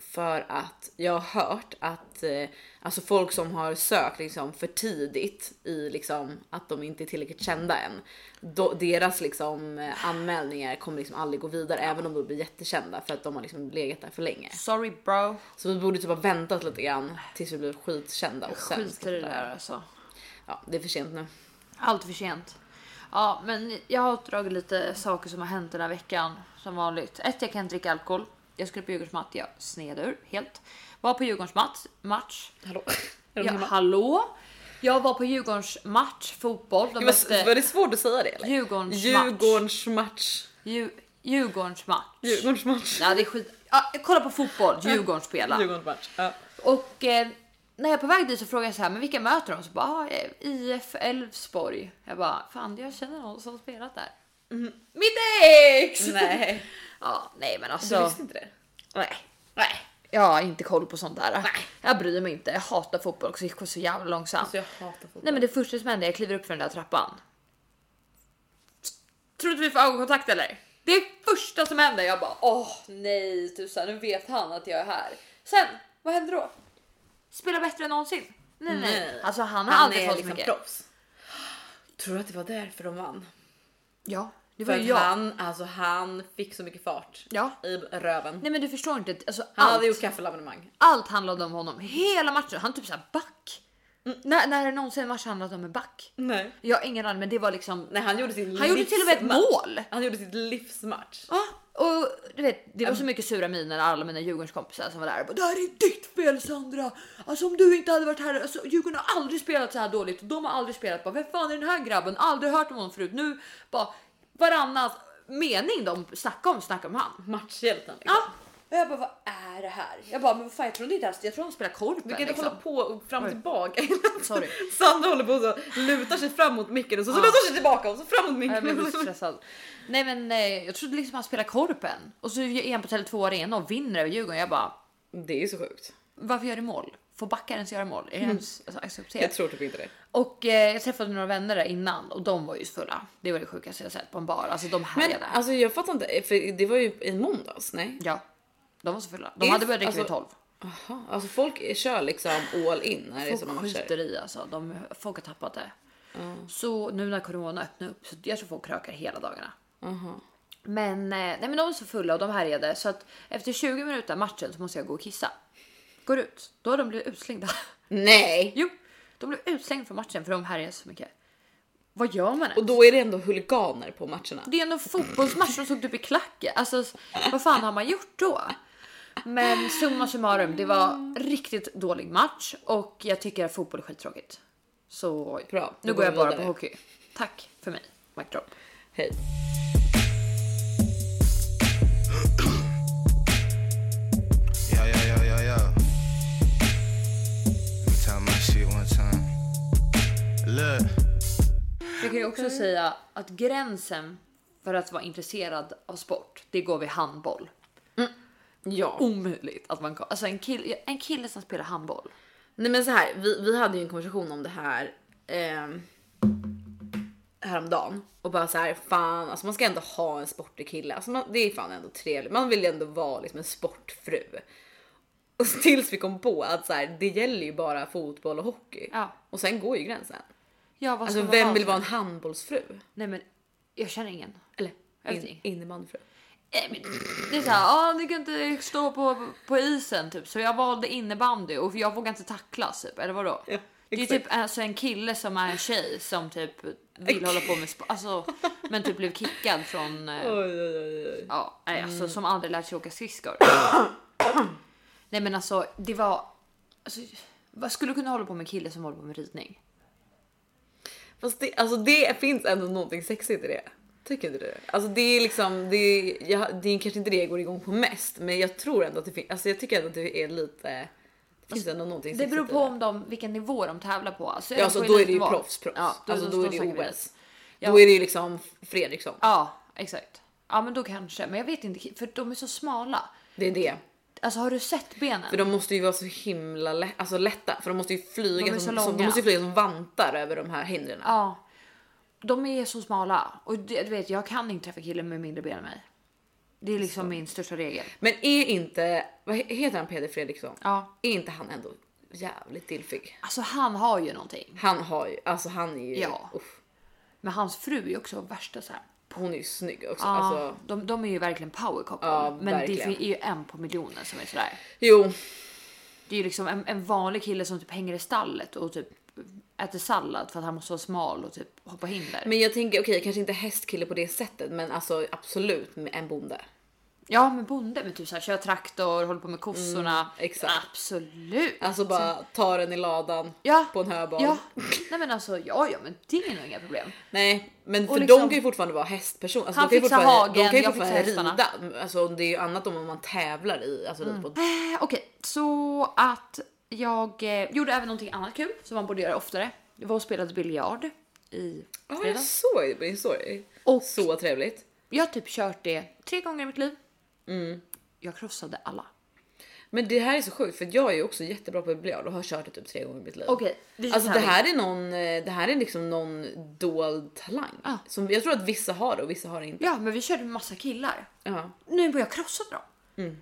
A: För att jag har hört att eh, alltså folk som har sökt liksom för tidigt i liksom att de inte är tillräckligt kända än. Då, deras liksom eh, anmälningar kommer liksom aldrig gå vidare även om de blir jättekända för att de har liksom legat där för länge.
B: Sorry bro.
A: Så vi borde typ ha väntat lite grann tills vi blir skitkända och sen.
B: Skiter i det där alltså.
A: Ja, det är för sent nu.
B: Allt för sent. Ja, men jag har dragit lite saker som har hänt den här veckan som vanligt. Ett, jag kan inte dricka alkohol. Jag skulle på Djurgårdens match. Jag sned ur helt. Var på Djurgårdens match. match.
A: Hallå?
B: Ja, hallå? Jag var på Djurgårdens match fotboll. De
A: Var, var det svårt att säga det eller?
B: Djurgårdens match.
A: Djurgårdens match.
B: Dju- Djurgårdens match.
A: Djurgårdens match.
B: Ja, det är skit. Ja, kolla på fotboll. Djurgården spelar.
A: Djurgårdens match. Ja.
B: Och eh, när jag är på väg dit så frågar jag så här, men vilka möter de? Så bara, ah, eh, IF Elfsborg. Jag bara, fan jag känner någon som spelat där. Mitt ex!
A: Nej,
B: Ja, nej men
A: du
B: alltså.
A: visste inte det.
B: Nej. nej. Jag har inte koll på sånt där. Jag bryr mig inte. Jag hatar fotboll också. Det går så jävla långsamt.
A: Så Alltså, jag hatar fotboll.
B: Nej men det första som händer är att jag kliver upp för den där trappan. Tror du att vi får ögonkontakt eller? Det är det första som händer. Jag bara åh nej tusan nu vet han att jag är här. Sen vad händer då? Spelar bättre än någonsin. Nej nej.
A: Nej.
B: Alltså han har
A: Han
B: aldrig
A: är
B: fått
A: liksom
B: mycket.
A: proffs. Tror du att det var därför de vann?
B: Ja, det var
A: För
B: ju
A: att
B: jag.
A: han, alltså han fick så mycket fart
B: Ja.
A: i röven.
B: Nej men du förstår inte. Alltså,
A: Han
B: allt,
A: hade gjort kaffelabonnemang.
B: allt handlade om honom. Hela matchen. Han typ såhär back. När, när har någonsin en match handlat om en back?
A: Nej.
B: Jag har ingen aning men det var liksom.
A: Nej, han gjorde sin
B: Han gjorde till och med ett
A: livsmatch.
B: mål.
A: Han gjorde sitt livsmatch.
B: Ja, och du vet, det var så mycket sura miner när alla mina Djurgårdskompisar som var där. och Bara, det här är ditt fel Sandra! Alltså om du inte hade varit här, alltså, Djurgården har aldrig spelat så här dåligt. De har aldrig spelat, bara, vem fan är den här grabben? Aldrig hört om honom förut. Nu bara varannan mening de snackar om, snackar om han.
A: Matchhjälten. Liksom.
B: Ja. Och jag bara, vad är det här? Jag bara, men vad fan jag trodde inte ens, jag tror de spelar korpen.
A: Vi kan inte
B: liksom.
A: hålla på och fram och
B: Oj.
A: tillbaka.
B: Sorry.
A: Sandra håller på och så lutar sig fram mot micken och så, så
B: Ja.
A: lutar sig tillbaka och så fram mot
B: Jag blev
A: micken.
B: så stressad. Nej men eh, jag trodde liksom han spelar korpen. Och så är han på Tele2 Arena och vinner över Djurgården. Jag bara,
A: Det är ju så sjukt.
B: varför gör du mål? Får backar ens göra mål? Är det ens alltså,
A: Mm. Jag
B: accepterat?
A: tror typ inte det.
B: Och eh, jag träffade några vänner där innan och de var ju fulla. Det var det sjukaste jag sett på en bar. Alltså de
A: Men
B: härjade.
A: alltså jag fattar inte, för det var ju i måndags, nej?
B: Ja, de var så fulla. De
A: If-
B: hade börjat dricka vid
A: alltså,
B: 12.
A: Aha. Alltså folk kör liksom all in när det är sådana
B: Folk
A: matcher.
B: skiter i alltså. De, folk har tappat det. Så nu när corona öppnar upp så jag tror folk krökar hela dagarna. Men, eh, nej, men de var så fulla och de härjade så att efter 20 minuter av matchen så måste jag gå och kissa. Går ut, då har de blivit utslängda.
A: Nej!
B: Jo, de blev utslängda från matchen för de härjade så mycket. Vad gör man ens?
A: Och då är det ändå huliganer på matcherna.
B: Det är ändå fotbollsmatch som såg typ i klacken. Alltså vad fan har man gjort då? Men summa summarum, det var riktigt dålig match och jag tycker att fotboll är skittråkigt. Så
A: Bra,
B: nu
A: då
B: går jag
A: vi
B: bara på
A: vidare.
B: hockey. Tack för mig. Mic drop.
A: Hej.
F: Yo, yo, yo, yo, yo. Let me tell my shit one time. Look.
B: Jag kan ju också säga att gränsen för att vara intresserad av sport, det går vid handboll.
A: Ja.
B: Omöjligt att man kan. Alltså en kille, en kille som spelar handboll.
A: Nej men så här, vi, vi hade ju en konversation om det här ehm, häromdagen och bara så här fan alltså man ska ändå ha en sportig kille. Alltså man, det är fan ändå trevligt. Man vill ju ändå vara liksom en sportfru. Och så tills vi kom på att så här, det gäller ju bara fotboll och hockey
B: Ja.
A: och sen går ju gränsen.
B: Ja, vad ska
A: Alltså
B: man
A: vem vill vara
B: för?
A: en handbollsfru?
B: Nej, men jag känner ingen.
A: Eller
B: Jag vet
A: in,
B: inte.
A: innebandyfru?
B: Nej, Eh, men Det är så här, ah, ni kan inte stå på, på isen typ. Så jag valde innebandy och jag vågar inte tacklas typ. Eller vadå?
A: Ja,
B: det är
A: exakt.
B: typ alltså, en kille som är en tjej som typ vill hålla på med sport. Alltså, men typ blev kickad från... eh,
A: Oj, Mm. oj, oj, oj.
B: Ja, nej, alltså som aldrig lärt sig åka skridskor. nej, men alltså det var. Alltså, vad skulle du kunna hålla på med en kille som håller på med ridning?
A: Fast det, alltså det finns ändå någonting sexigt i det. Tycker inte du? Alltså det är liksom, det är, jag, det är kanske inte det jag går igång på mest, men jag tror ändå att det finns, alltså jag tycker ändå att det är lite, det finns ändå någonting
B: Det
A: sexigt
B: beror
A: i
B: på om de, vilken nivå de tävlar på. Alltså,
A: Ja, alltså
B: på
A: då är det ju
B: elitnivå.
A: proffs, proffs.
B: Ja,
A: alltså
B: de
A: då är det
B: står
A: ju
B: säkert
A: OS.
B: dit. Ja.
A: Då är det ju liksom Fredriksson.
B: Ja, exakt. Ja, men då kanske. Men jag vet inte, för de är så smala.
A: Det är det.
B: Alltså har du sett benen?
A: För de måste ju vara så himla lä- alltså lätta, för de måste ju
B: De
A: flyga, som,
B: är så
A: som, de
B: långa.
A: måste ju flyga som vantar över de här hindren.
B: Ja. De är så smala. Och det- du vet, jag kan inte träffa killen med mindre ben än mig. Det är liksom min största regel.
A: Men är inte, vad he- heter han Peder Fredriksson?
B: Ja.
A: Är inte han ändå jävligt dillfig?
B: Alltså han har ju någonting.
A: Han har ju, alltså han är ju,
B: Ja.
A: uff.
B: Men hans fru är också värsta så här.
A: Hon är ju snygg också.
B: Ja,
A: Alltså,
B: de, de är ju verkligen power couple.
A: Ja,
B: men
A: verkligen.
B: det fin- är ju en på miljonen som är sådär.
A: jo,
B: Det är ju liksom en, en vanlig kille som typ hänger i stallet och typ äter sallad för att han måste vara smal och typ hoppa hinder.
A: men jag tänker okej, kanske inte hästkille på det sättet, men alltså absolut med en bonde.
B: Ja, men bonde med typ så här, kör traktor, håller på med kossorna.
A: exakt.
B: Absolut.
A: Alltså bara ta den i ladan
B: ja.
A: på en höbal.
B: Ja, nej men alltså ja, ja, men det är nog inga problem.
A: Nej, men för
B: liksom-
A: de kan ju fortfarande vara hästperson. Alltså,
B: Han
A: de kan ju
B: fixar
A: fortfarande-
B: hagen,
A: de kan ju
B: jag
A: fortfarande
B: fixar
A: rida. Alltså, det är ju annat om man tävlar i. Alltså, rida på...
B: Eh, Okej, så att jag eh, gjorde även någonting annat kul som man borde göra oftare. Det var och spelade biljard i
A: Ja, jag såg det på din story.
B: Och-
A: Så trevligt.
B: Jag har typ kört det tre gånger i mitt liv. Mm. Jag krossade alla.
A: Men det här är så sjukt för jag är ju också jättebra på biljard och har kört det typ tre gånger i mitt liv.
B: Okej, det är
A: alltså
B: så
A: det
B: här
A: här är någon, eh, det här är liksom någon dold talang.
B: Ja.
A: Som, jag tror att vissa har det och vissa har det inte.
B: Ja, men vi körde med massa killar.
A: Ja.
B: Nu började jag krossa dem.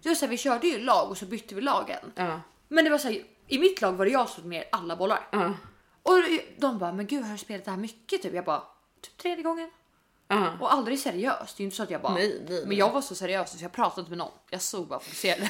B: Det var så här, vi körde ju lag och så bytte vi lagen.
A: Ja.
B: Men det var så här, i mitt lag var det jag som tog ner alla bollar.
A: Ja.
B: Och de bara, men gud har du spelat det här mycket? Typ. Jag bara, typ tredje gången.
A: Ja.
B: Och aldrig seriöst. Det är ju inte så att jag bara...
A: Nej, nej, nej.
B: Men jag var så seriös så jag pratade inte med någon. Jag såg bara fokuserad.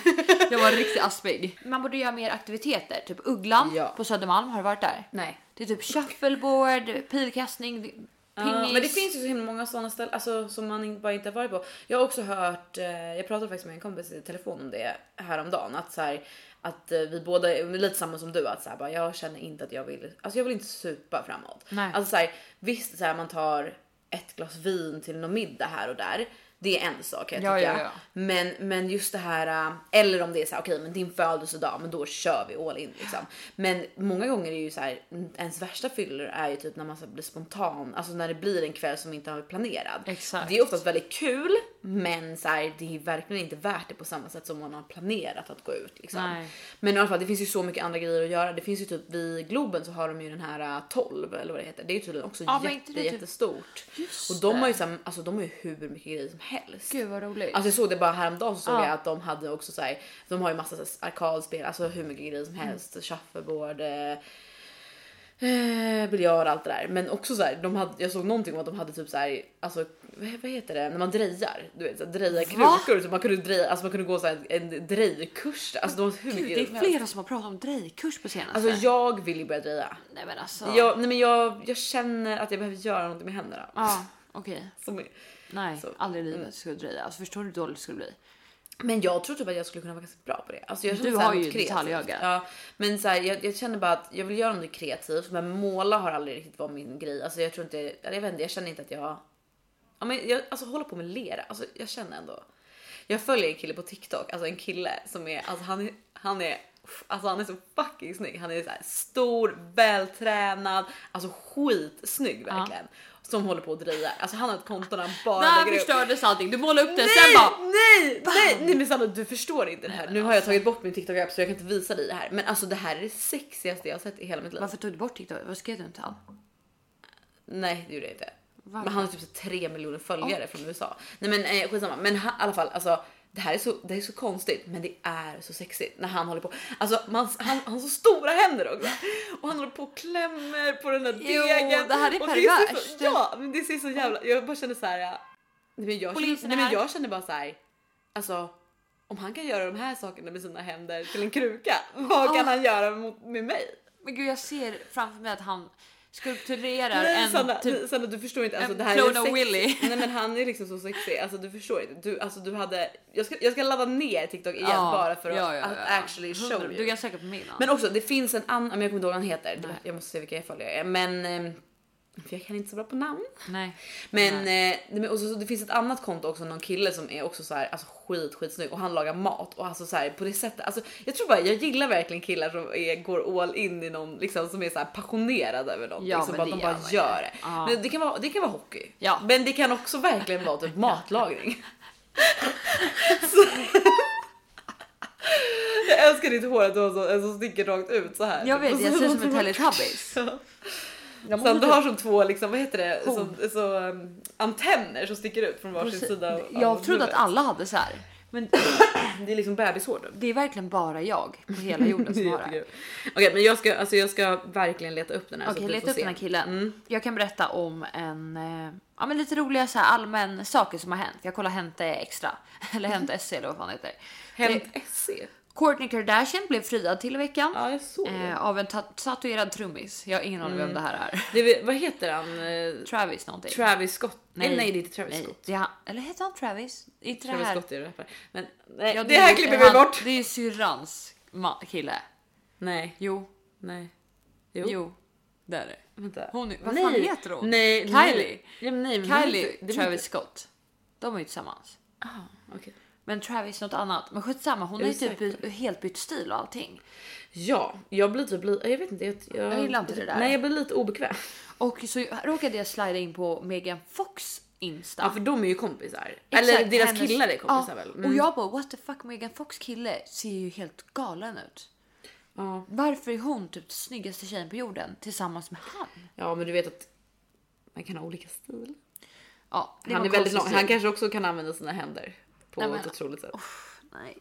B: jag var riktigt aspig. Man borde göra mer aktiviteter. Typ Ugglan
A: Ja.
B: på Södermalm. Har du varit där?
A: Nej.
B: Det är typ shuffleboard, pilkastning, pingis.
A: Ja, men det finns ju så himla många sådana ställen alltså, som man in- bara inte har varit på. Jag har också hört, eh, jag pratade faktiskt med en kompis i telefon om det häromdagen. Att, så här, att eh, vi båda är lite samma som du. Att så här, bara, jag känner inte att jag vill, alltså jag vill inte supa framåt.
B: Nej.
A: Alltså, så här, visst, så här, man tar ett glas vin till någon middag här och där. Det är en sak kan jag
B: Ja,
A: tycka.
B: ja, ja.
A: Men, men just det här, äh, eller om det är så här, okej men din födelsedag, men då kör vi all in liksom. Men många gånger är ju så här, ens värsta fyllor är ju typ när man så här blir spontan, alltså när det blir en kväll som inte har varit planerad.
B: Exakt.
A: Det är oftast väldigt kul, men så här, det är verkligen inte värt det på samma sätt som man har planerat att gå ut. Liksom.
B: Nej.
A: Men i alla fall, det finns ju så mycket andra grejer att göra. Det finns ju typ vid Globen så har de ju den här äh, 12 eller vad det heter. Det är ju tydligen också
B: Ja, men inte
A: jätte,
B: det typ-
A: jättestort.
B: Just
A: Och de har ju
B: det.
A: så här, alltså de har ju hur mycket grejer som helst.
B: Gud vad roligt.
A: Alltså jag såg det bara häromdagen så såg
B: Ja.
A: jag att de hade också så här,
B: Mm.
A: de har ju massa så här arkadspel, alltså hur mycket grejer som helst, shuffleboard, eh, eh, biljard och allt det där. Men också så här, de hade, jag såg någonting om att de hade typ så här, alltså vad, vad heter det när man drejar? Du vet så här, dreja krukor så man kunde dreja, alltså man kunde gå så här, en drejkurs. Alltså de har hur
B: Gud, det
A: mycket
B: är flera som har pratat om drejkurs på senaste.
A: Alltså jag vill ju börja dreja.
B: Nej men alltså.
A: Jag, nej men jag, jag känner att jag behöver göra någonting med händerna.
B: Ja, okej.
A: Som,
B: Nej,
A: Så. Mm.
B: aldrig i livet skulle jag dreja. Alltså förstår du hur dåligt det skulle bli?
A: men jag tror typ att jag skulle kunna vara ganska bra på det. Alltså jag
B: Du
A: känner så här
B: har ju
A: något kreativt.
B: detaljöga.
A: Ja, men så här, jag, jag känner bara att jag vill göra något kreativt, men måla har aldrig riktigt varit min grej. Alltså jag tror inte, eller jag vet inte, jag känner inte att jag. Ja, men jag alltså hålla på med lera, alltså jag känner ändå. Jag följer en kille på TikTok, alltså en kille som är, alltså han är, han är Alltså han är så fucking snygg. Han är så här stor, vältränad, alltså skitsnygg verkligen. Som håller på att dreja. Alltså han har ett konto där han bara
B: Där
A: lägger upp-
B: förstördes allting. Du målade upp det
A: Nej,
B: sen bara. alltså-
A: nej, nej, nej, men Sanna du förstår inte det här. Nu har jag tagit bort min TikTok app så jag kan inte visa dig det här. Men alltså det här är det sexigaste jag har sett i hela mitt liv.
B: Varför tog du bort TikTok? Vad skrev du inte han?
A: Nej, det gjorde jag inte.
B: Varför?
A: Men han har typ så tre miljoner följare från USA. Nej, men eh, skitsamma, men han, i alla fall alltså. Det här är så, det är så konstigt, men det är så sexigt när han håller på. Alltså man, han, han har så stora händer också och han håller på och klämmer på den där
B: Jo,
A: degen.
B: det här är
A: och ser så-
B: perverst.
A: Ja, men det ser så jävla. Jag bara känner så här. ja. Nej, men jag, känner,
B: Polisen är
A: nej, men
B: här.
A: jag känner bara så här. Alltså om han kan göra de här sakerna med sina händer till en kruka, vad kan
B: Ah.
A: han göra mot, med mig?
B: Men gud jag ser framför mig att han skulpturerar
A: Nej,
B: en
A: Sanna,
B: typ
A: nej, Sanna, du förstår inte. Alltså,
B: en
A: det här
B: klon av
A: är sex...
B: Willy.
A: Nej, men han är liksom så sexig. Alltså, du förstår inte. Du, alltså, du hade... jag, ska, jag ska ladda ner TikTok igen bara för att, att actually show
B: Hundra-
A: you.
B: Du kan söka på min.
A: Men också, det finns en annan... men Jag kommer inte ihåg vad han heter.
B: Nej.
A: Jag måste se vilka jag följer. Eh, Men... ehm, För jag kan inte så bra på namn.
B: Nej.
A: Men, eh, nej, men och så, så, det finns ett annat konto också, någon kille som är också så här, alltså skit skitsnygg och han lagar mat och alltså så här på det sättet. Alltså, jag tror bara jag gillar verkligen killar som är, går all in i någon liksom som är så här passionerad över något.
B: Ja,
A: liksom, bara,
B: men det
A: de bara
B: gör man ju.
A: gör det.
B: Ja.
A: Men det kan vara, det kan vara hockey,
B: Ja.
A: men det kan också verkligen vara typ matlagning. så. Jag älskar ditt hår att du har så, en som sticker rakt ut så här.
B: Jag vet,
A: Och så-
B: jag ser ut som en teletubbies.
A: Sen du har
B: typ
A: som två, liksom, vad heter det, som, så, um, antenner som sticker ut från varsin sida. av- av
B: Jag trodde att
A: huvudet.
B: alla hade så här. Men
A: Det är liksom bebishår nu.
B: det är verkligen bara jag på hela jorden
A: Det är
B: som har det. här.
A: jättekul. Okej, men jag ska, alltså, jag ska verkligen leta upp den här.
B: Okej,
A: att vi
B: leta
A: får
B: upp
A: se. Mm.
B: den här killen. Jag kan berätta om en, eh, ja, men lite roliga så här, allmän saker som har hänt. Jag kollar Hänt eh, Extra eller Hänt SC eller vad fan det heter.
A: Hänt
B: Eh,
A: SE.
B: Kourtney Kardashian blev friad till i veckan
A: E. Ja, jag såg det.
B: eh, av en ta- tatuerad trummis. Jag har ingen aning vem
A: Mm.
B: det här är.
A: det. är- Vad heter han? Eh,
B: Travis någonting.
A: Travis Scott? Nej, nej, det är inte Travis
B: nej,
A: Scott.
B: det är han, eller heter han Travis? Är Inte det
A: Travis
B: här.
A: Scott är ju rappare. Men nej,
B: Ja,
A: det, här
B: är-
A: klipper vi
B: han-
A: bort.
B: Det är ju syrrans ma- kille.
A: Nej,
B: Jo,
A: nej.
B: jo, det är det.
A: Vänta.
B: Hon, är- vad
A: nej.
B: fan heter hon?
A: Nej,
B: Kylie.
A: Ja, men nej, men hon heter-
B: Kylie
A: det är
B: Travis
A: inte-
B: Scott. De är ju tillsammans.
A: Ah, okej.
B: Men Travis något annat. Men skitsamma, hon har ju typ
A: Ursäkta.
B: by- helt bytt stil och allting.
A: Ja, jag blir typ li- jag vet inte. Jag, jag,
B: Jag gillar inte det där.
A: Nej, jag blir lite obekväm.
B: Och så råkade jag slida in på Megan Fox Insta.
A: Ja, för de är ju kompisar. Eller
B: Exakt,
A: deras
B: hennes-
A: killar är kompisar
B: ja.
A: väl?
B: Och
A: Mm.
B: jag bara what the fuck Megan Fox kille ser ju helt galen ut.
A: Ja.
B: Varför är hon typ den snyggaste tjejen på jorden tillsammans med han?
A: ja, men du vet att man kan ha olika stil.
B: Ja, det
A: Han
B: var
A: är väldigt
B: konstigt
A: lång. Han
B: stil.
A: kanske också kan använda sina händer på
B: Nej, men-
A: ett otroligt sätt.
B: Nej,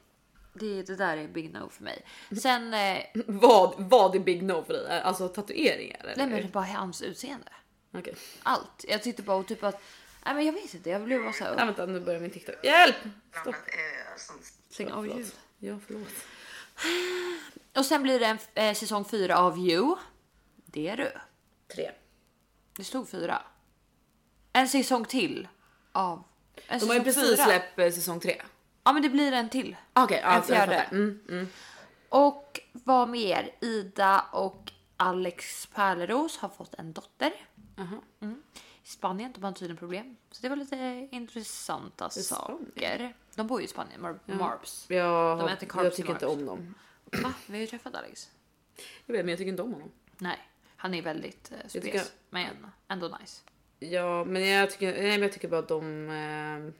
B: det, det där är big no för mig. Sen, eh,
A: Vad, vad är big no för dig? Alltså tatueringar? Eller?
B: nej men bara hans utseende.
A: Okej.
B: Allt. Jag tyckte bara och typ att, nej men jag vet inte, jag blev bara så
A: Nej,
B: här.
A: vänta, nu börjar min TikTok. Hjälp! Stopp.
B: Stäng av
A: Förlåt.
B: ljud.
A: Ja, förlåt.
B: Och sen blir det en eh, säsong fyra av You. Det är du.
A: Tre.
B: Det stod fyra. En säsong till av... En
A: De har ju precis släppt eh, säsong tre.
B: Ja men det blir en till.
A: Okej, ja,
B: En
A: jag
B: fjärde.
A: fattar. Mm, mm.
B: Och vad mer? Ida och Alex Pärleros har fått en dotter.
A: Aha.
B: Mm. I Spanien, de har tydligen problem. Så det var lite intressanta
A: Spanien?
B: saker. De bor ju i Spanien, Mar- Marbs.
A: Jag,
B: De äter
A: jag
B: carbs
A: tycker
B: i
A: inte
B: marks.
A: om dem.
B: Va? Vi har ju träffat Alex.
A: Jag vet, men jag tycker inte om honom.
B: Nej, han är väldigt eh, spes.
A: tycker-
B: Men ändå nice.
A: Ja, men jag tycker, nej, men jag tycker bara att de... Eh,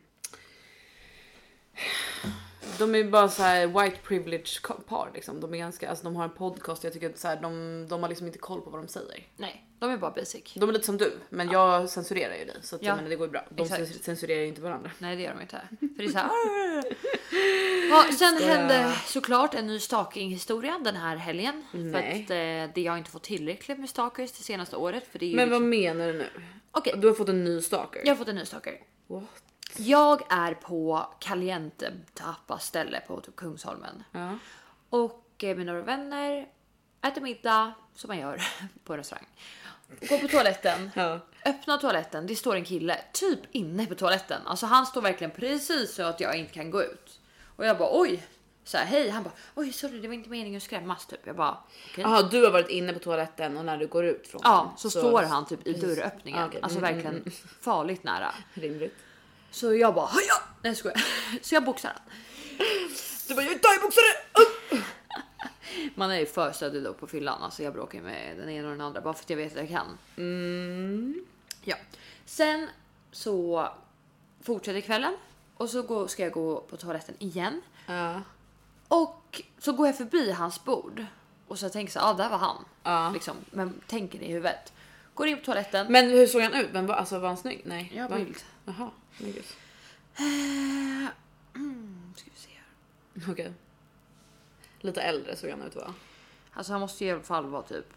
A: de är bara så här white privilege ko- par liksom. De är ganska, alltså de har en podcast. Jag tycker att så här, de, de har liksom inte koll på vad de säger.
B: Nej, de är bara basic.
A: De är lite som du, men jag censurerar ju dig så att
B: Ja.
A: jag menar, det går ju bra. De
B: Exakt.
A: censurerar ju inte varandra.
B: Nej, det gör de inte. För det är så här. ja, sen hände såklart en ny stalking-historia den här helgen. För
A: Nej.
B: att eh, det jag har inte fått tillräckligt med stalkers det senaste året. För det är ju
A: Men vad
B: liksom...
A: menar du nu?
B: Okej,
A: Du har fått en ny stalker.
B: jag har fått en ny stalker.
A: What?
B: Jag är på Caliente tapas ställe på typ Kungsholmen.
A: Ja.
B: Och eh, mina vänner äter middag som man gör på en restaurang. Går på toaletten.
A: Ja.
B: Öppna toaletten, det står en kille typ inne på toaletten. Alltså han står verkligen precis så att jag inte kan gå ut. Och jag bara oj, så här, hej. Han bara oj sorry det var inte meningen att skrämmas typ. Jag bara okej.
A: Jaha, du har varit inne på toaletten och när du går ut från
B: Ja,
A: den
B: så, står han typ i dörröppningen.
A: Ah, okej.
B: Alltså
A: Mm,
B: verkligen farligt nära.
A: Rimligt.
B: Så jag bara ja, nej jag skojar. Så jag boxar han.
A: Du bara, jag är thaiboxare!
B: Man är ju för stöddig då på fyllan. Alltså jag bråkar ju med den ena och den andra bara för att jag vet att jag kan.
A: Mm.
B: Ja. Sen så fortsätter kvällen och så går, ska jag gå på toaletten igen.
A: Ja.
B: Och så går jag förbi hans bord och så tänker jag så här, ah, där var han.
A: Ja.
B: Liksom, men tänker det i huvudet. Går in på toaletten.
A: Men hur såg han ut? Men var, alltså, var han snygg? Nej.
B: Ja,
A: var...
B: bild.
A: Jaha, men gud.
B: Eh, mm, ska vi se här.
A: Okej. Lite äldre såg han ut va?
B: Alltså han måste ju i alla fall vara typ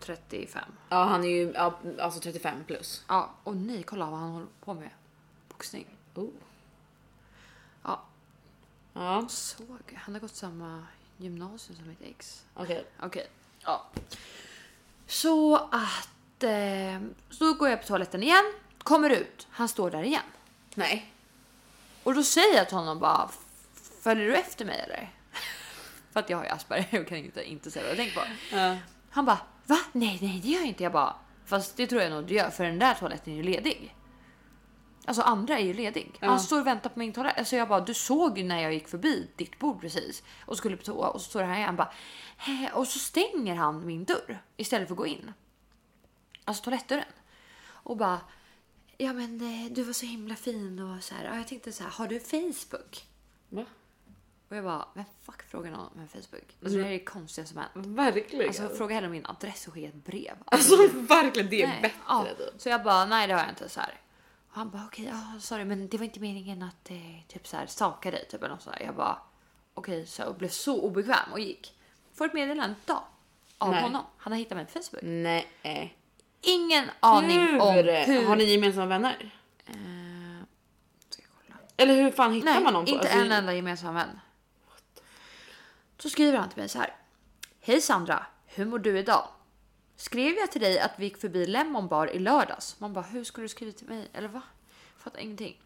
B: 35.
A: Ja, han är ju ja, alltså 35 plus.
B: Ja, och nej, kolla vad han håller på med. Boxning.
A: Oh.
B: Ja,
A: Ja,
B: såg. Han har gått samma gymnasium som mitt ex.
A: okej.
B: Okej. Ja. Så att... Eh, så går jag på toaletten igen. Kommer ut. Han står där igen.
A: Nej.
B: Och då säger jag till honom bara... Följer du efter mig eller? För att jag har ju Asperger och kan inte, inte säga vad jag tänker på.
A: Ja.
B: Han bara va? Nej, nej, det gör jag inte. Jag bara fast det tror jag nog du gör för den där toaletten är ju ledig. Alltså andra är ju ledig. Han står och väntar på min toalett. Alltså jag bara du såg ju när jag gick förbi ditt bord precis och skulle på toa och så står det här igen. Han bara "Hä?" och så stänger han min dörr istället för att gå in. Alltså toalettdörren och bara ja, men eh, du var så himla fin och så här. Ja, jag tänkte så här. Har du Facebook?
A: Va?
B: Och jag bara, vem fuck frågar någon om en Facebook? Alltså det här är det konstigaste som hänt.
A: Verkligen.
B: Alltså
A: Alltså,
B: fråga hellre om min adress och skicka ett brev.
A: verkligen, det är
B: Nej,
A: bättre.
B: ja.
A: typ.
B: Så jag bara, nej det har jag inte. Så här. Och han bara, okej, ja sorry men det var inte meningen att eh, typ så här saka dig. Typ, eller något så här. Jag bara, okej, så jag blev så obekväm och gick. Får ett meddelande idag av
A: Nej.
B: honom. Han har hittat mig på Facebook.
A: Nej.
B: Ingen aning om hur.
A: Har ni gemensamma vänner?
B: Eh, ska jag kolla.
A: Eller hur fan hittar
B: Nej,
A: man någon? på-
B: inte
A: alltså,
B: en enda gemensam vän. Så skriver han till mig så här. Hej Sandra, hur mår du idag? Skrev jag till dig att vi gick förbi Lemon Bar i lördags? Man bara, hur skulle du skriva till mig? Eller va? Fattar ingenting.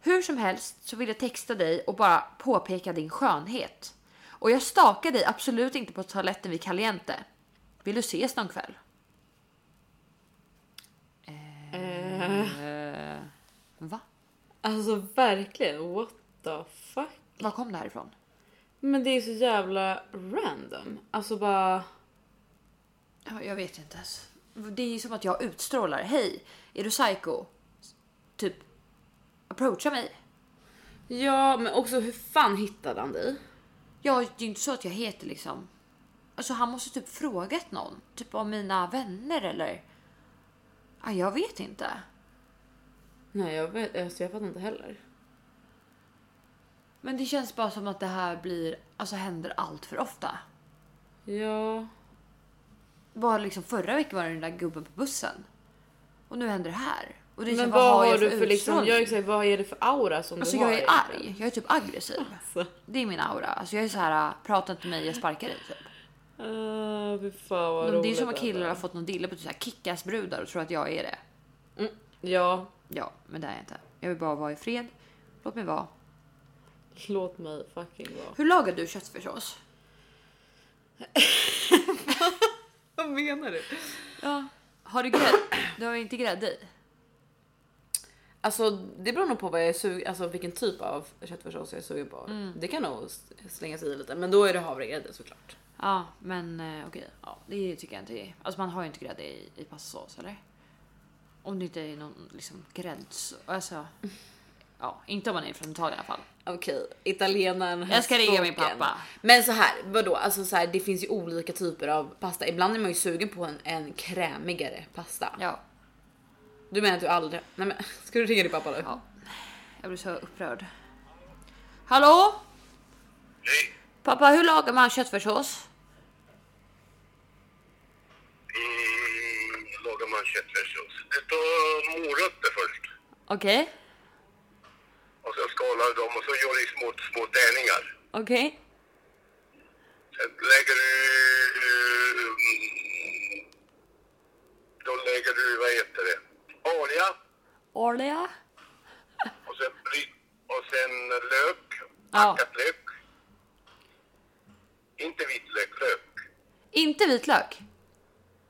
B: Hur som helst så vill jag texta dig och bara påpeka din skönhet. Och jag stakar dig absolut inte på toaletten vid Caliente. Vill du ses någon kväll? Eh, Va?
A: Alltså verkligen, what the fuck?
B: Var kom det här ifrån?
A: Men det är så jävla random. Alltså bara...
B: Ja, jag vet inte ens. Det är ju som att jag utstrålar. Hej, är du psycho? Typ, approacha mig.
A: Ja, men också hur fan hittade han dig?
B: Jag, det är ju inte så att jag heter liksom... Alltså han måste typ frågat någon. Typ av mina vänner eller... Ja, jag vet inte.
A: Nej, jag vet alltså, jag fattar inte heller.
B: Men det känns bara som att det här blir... Alltså händer allt för ofta.
A: Ja,
B: Bara liksom förra veckan var det den där gubben på bussen. Och nu händer det här. Och det är
A: men
B: så,
A: vad, har
B: jag
A: du för liksom,
B: utstrålning?
A: jag exakt, vad är det för aura som
B: Alltså
A: du har?
B: jag är
A: egentligen?
B: arg. Jag är typ aggressiv.
A: Alltså.
B: Det är min aura. Alltså jag är så här, prata inte med mig, jag sparkar dig. Typ.
A: Uh, fy fan vad
B: Men
A: roligt.
B: det är som att
A: alltså.
B: killar har fått någon dille på typ så här kickass-brudar och tror att jag är det.
A: Ja,
B: Ja, men det är jag inte. Jag vill bara vara i fred. Låt mig vara.
A: låt mig fucking vara.
B: Hur lagar du köttfärssås?
A: Vad menar du?
B: Ja. Har du grädde? Du har ju inte grädde i.
A: Alltså det beror nog på vad jag är sugen, alltså vilken typ av köttfärssås jag är sugen på.
B: Mm.
A: Det kan nog s- slängas i lite, men då är det havregrädde såklart.
B: Ja, men eh, okej. Ja, det tycker jag inte är. Alltså man har ju inte grädde i, i pastasås eller? Om det inte är någon liksom grädds... Alltså Ja, inte om man är från Italien i alla fall.
A: Okej, italienaren.
B: Jag ska ringa min
A: höstboken.
B: pappa.
A: Men så här, vadå? Alltså så här, det finns ju olika typer av pasta. Ibland är man ju sugen på en, en krämigare pasta.
B: Ja,
A: Du menar att du aldrig... Nej men, ska du ringa din pappa nu?
B: Ja. jag blir så upprörd. Hallå?
G: Nej,
B: Pappa, hur lagar man köttfärssås?
G: mm, lagar man köttfärssås. Det tar morötter först.
B: Okej,
G: Och sen skalar du dem och så gör du små, små tärningar.
B: okej.
G: Sen lägger du... mm, Då lägger du, vad heter det, olja
B: Olja?
G: och sen, bry- och sen lök,
B: Ja.
G: hackad lök. Inte vitlök, lök.
B: Inte vitlök?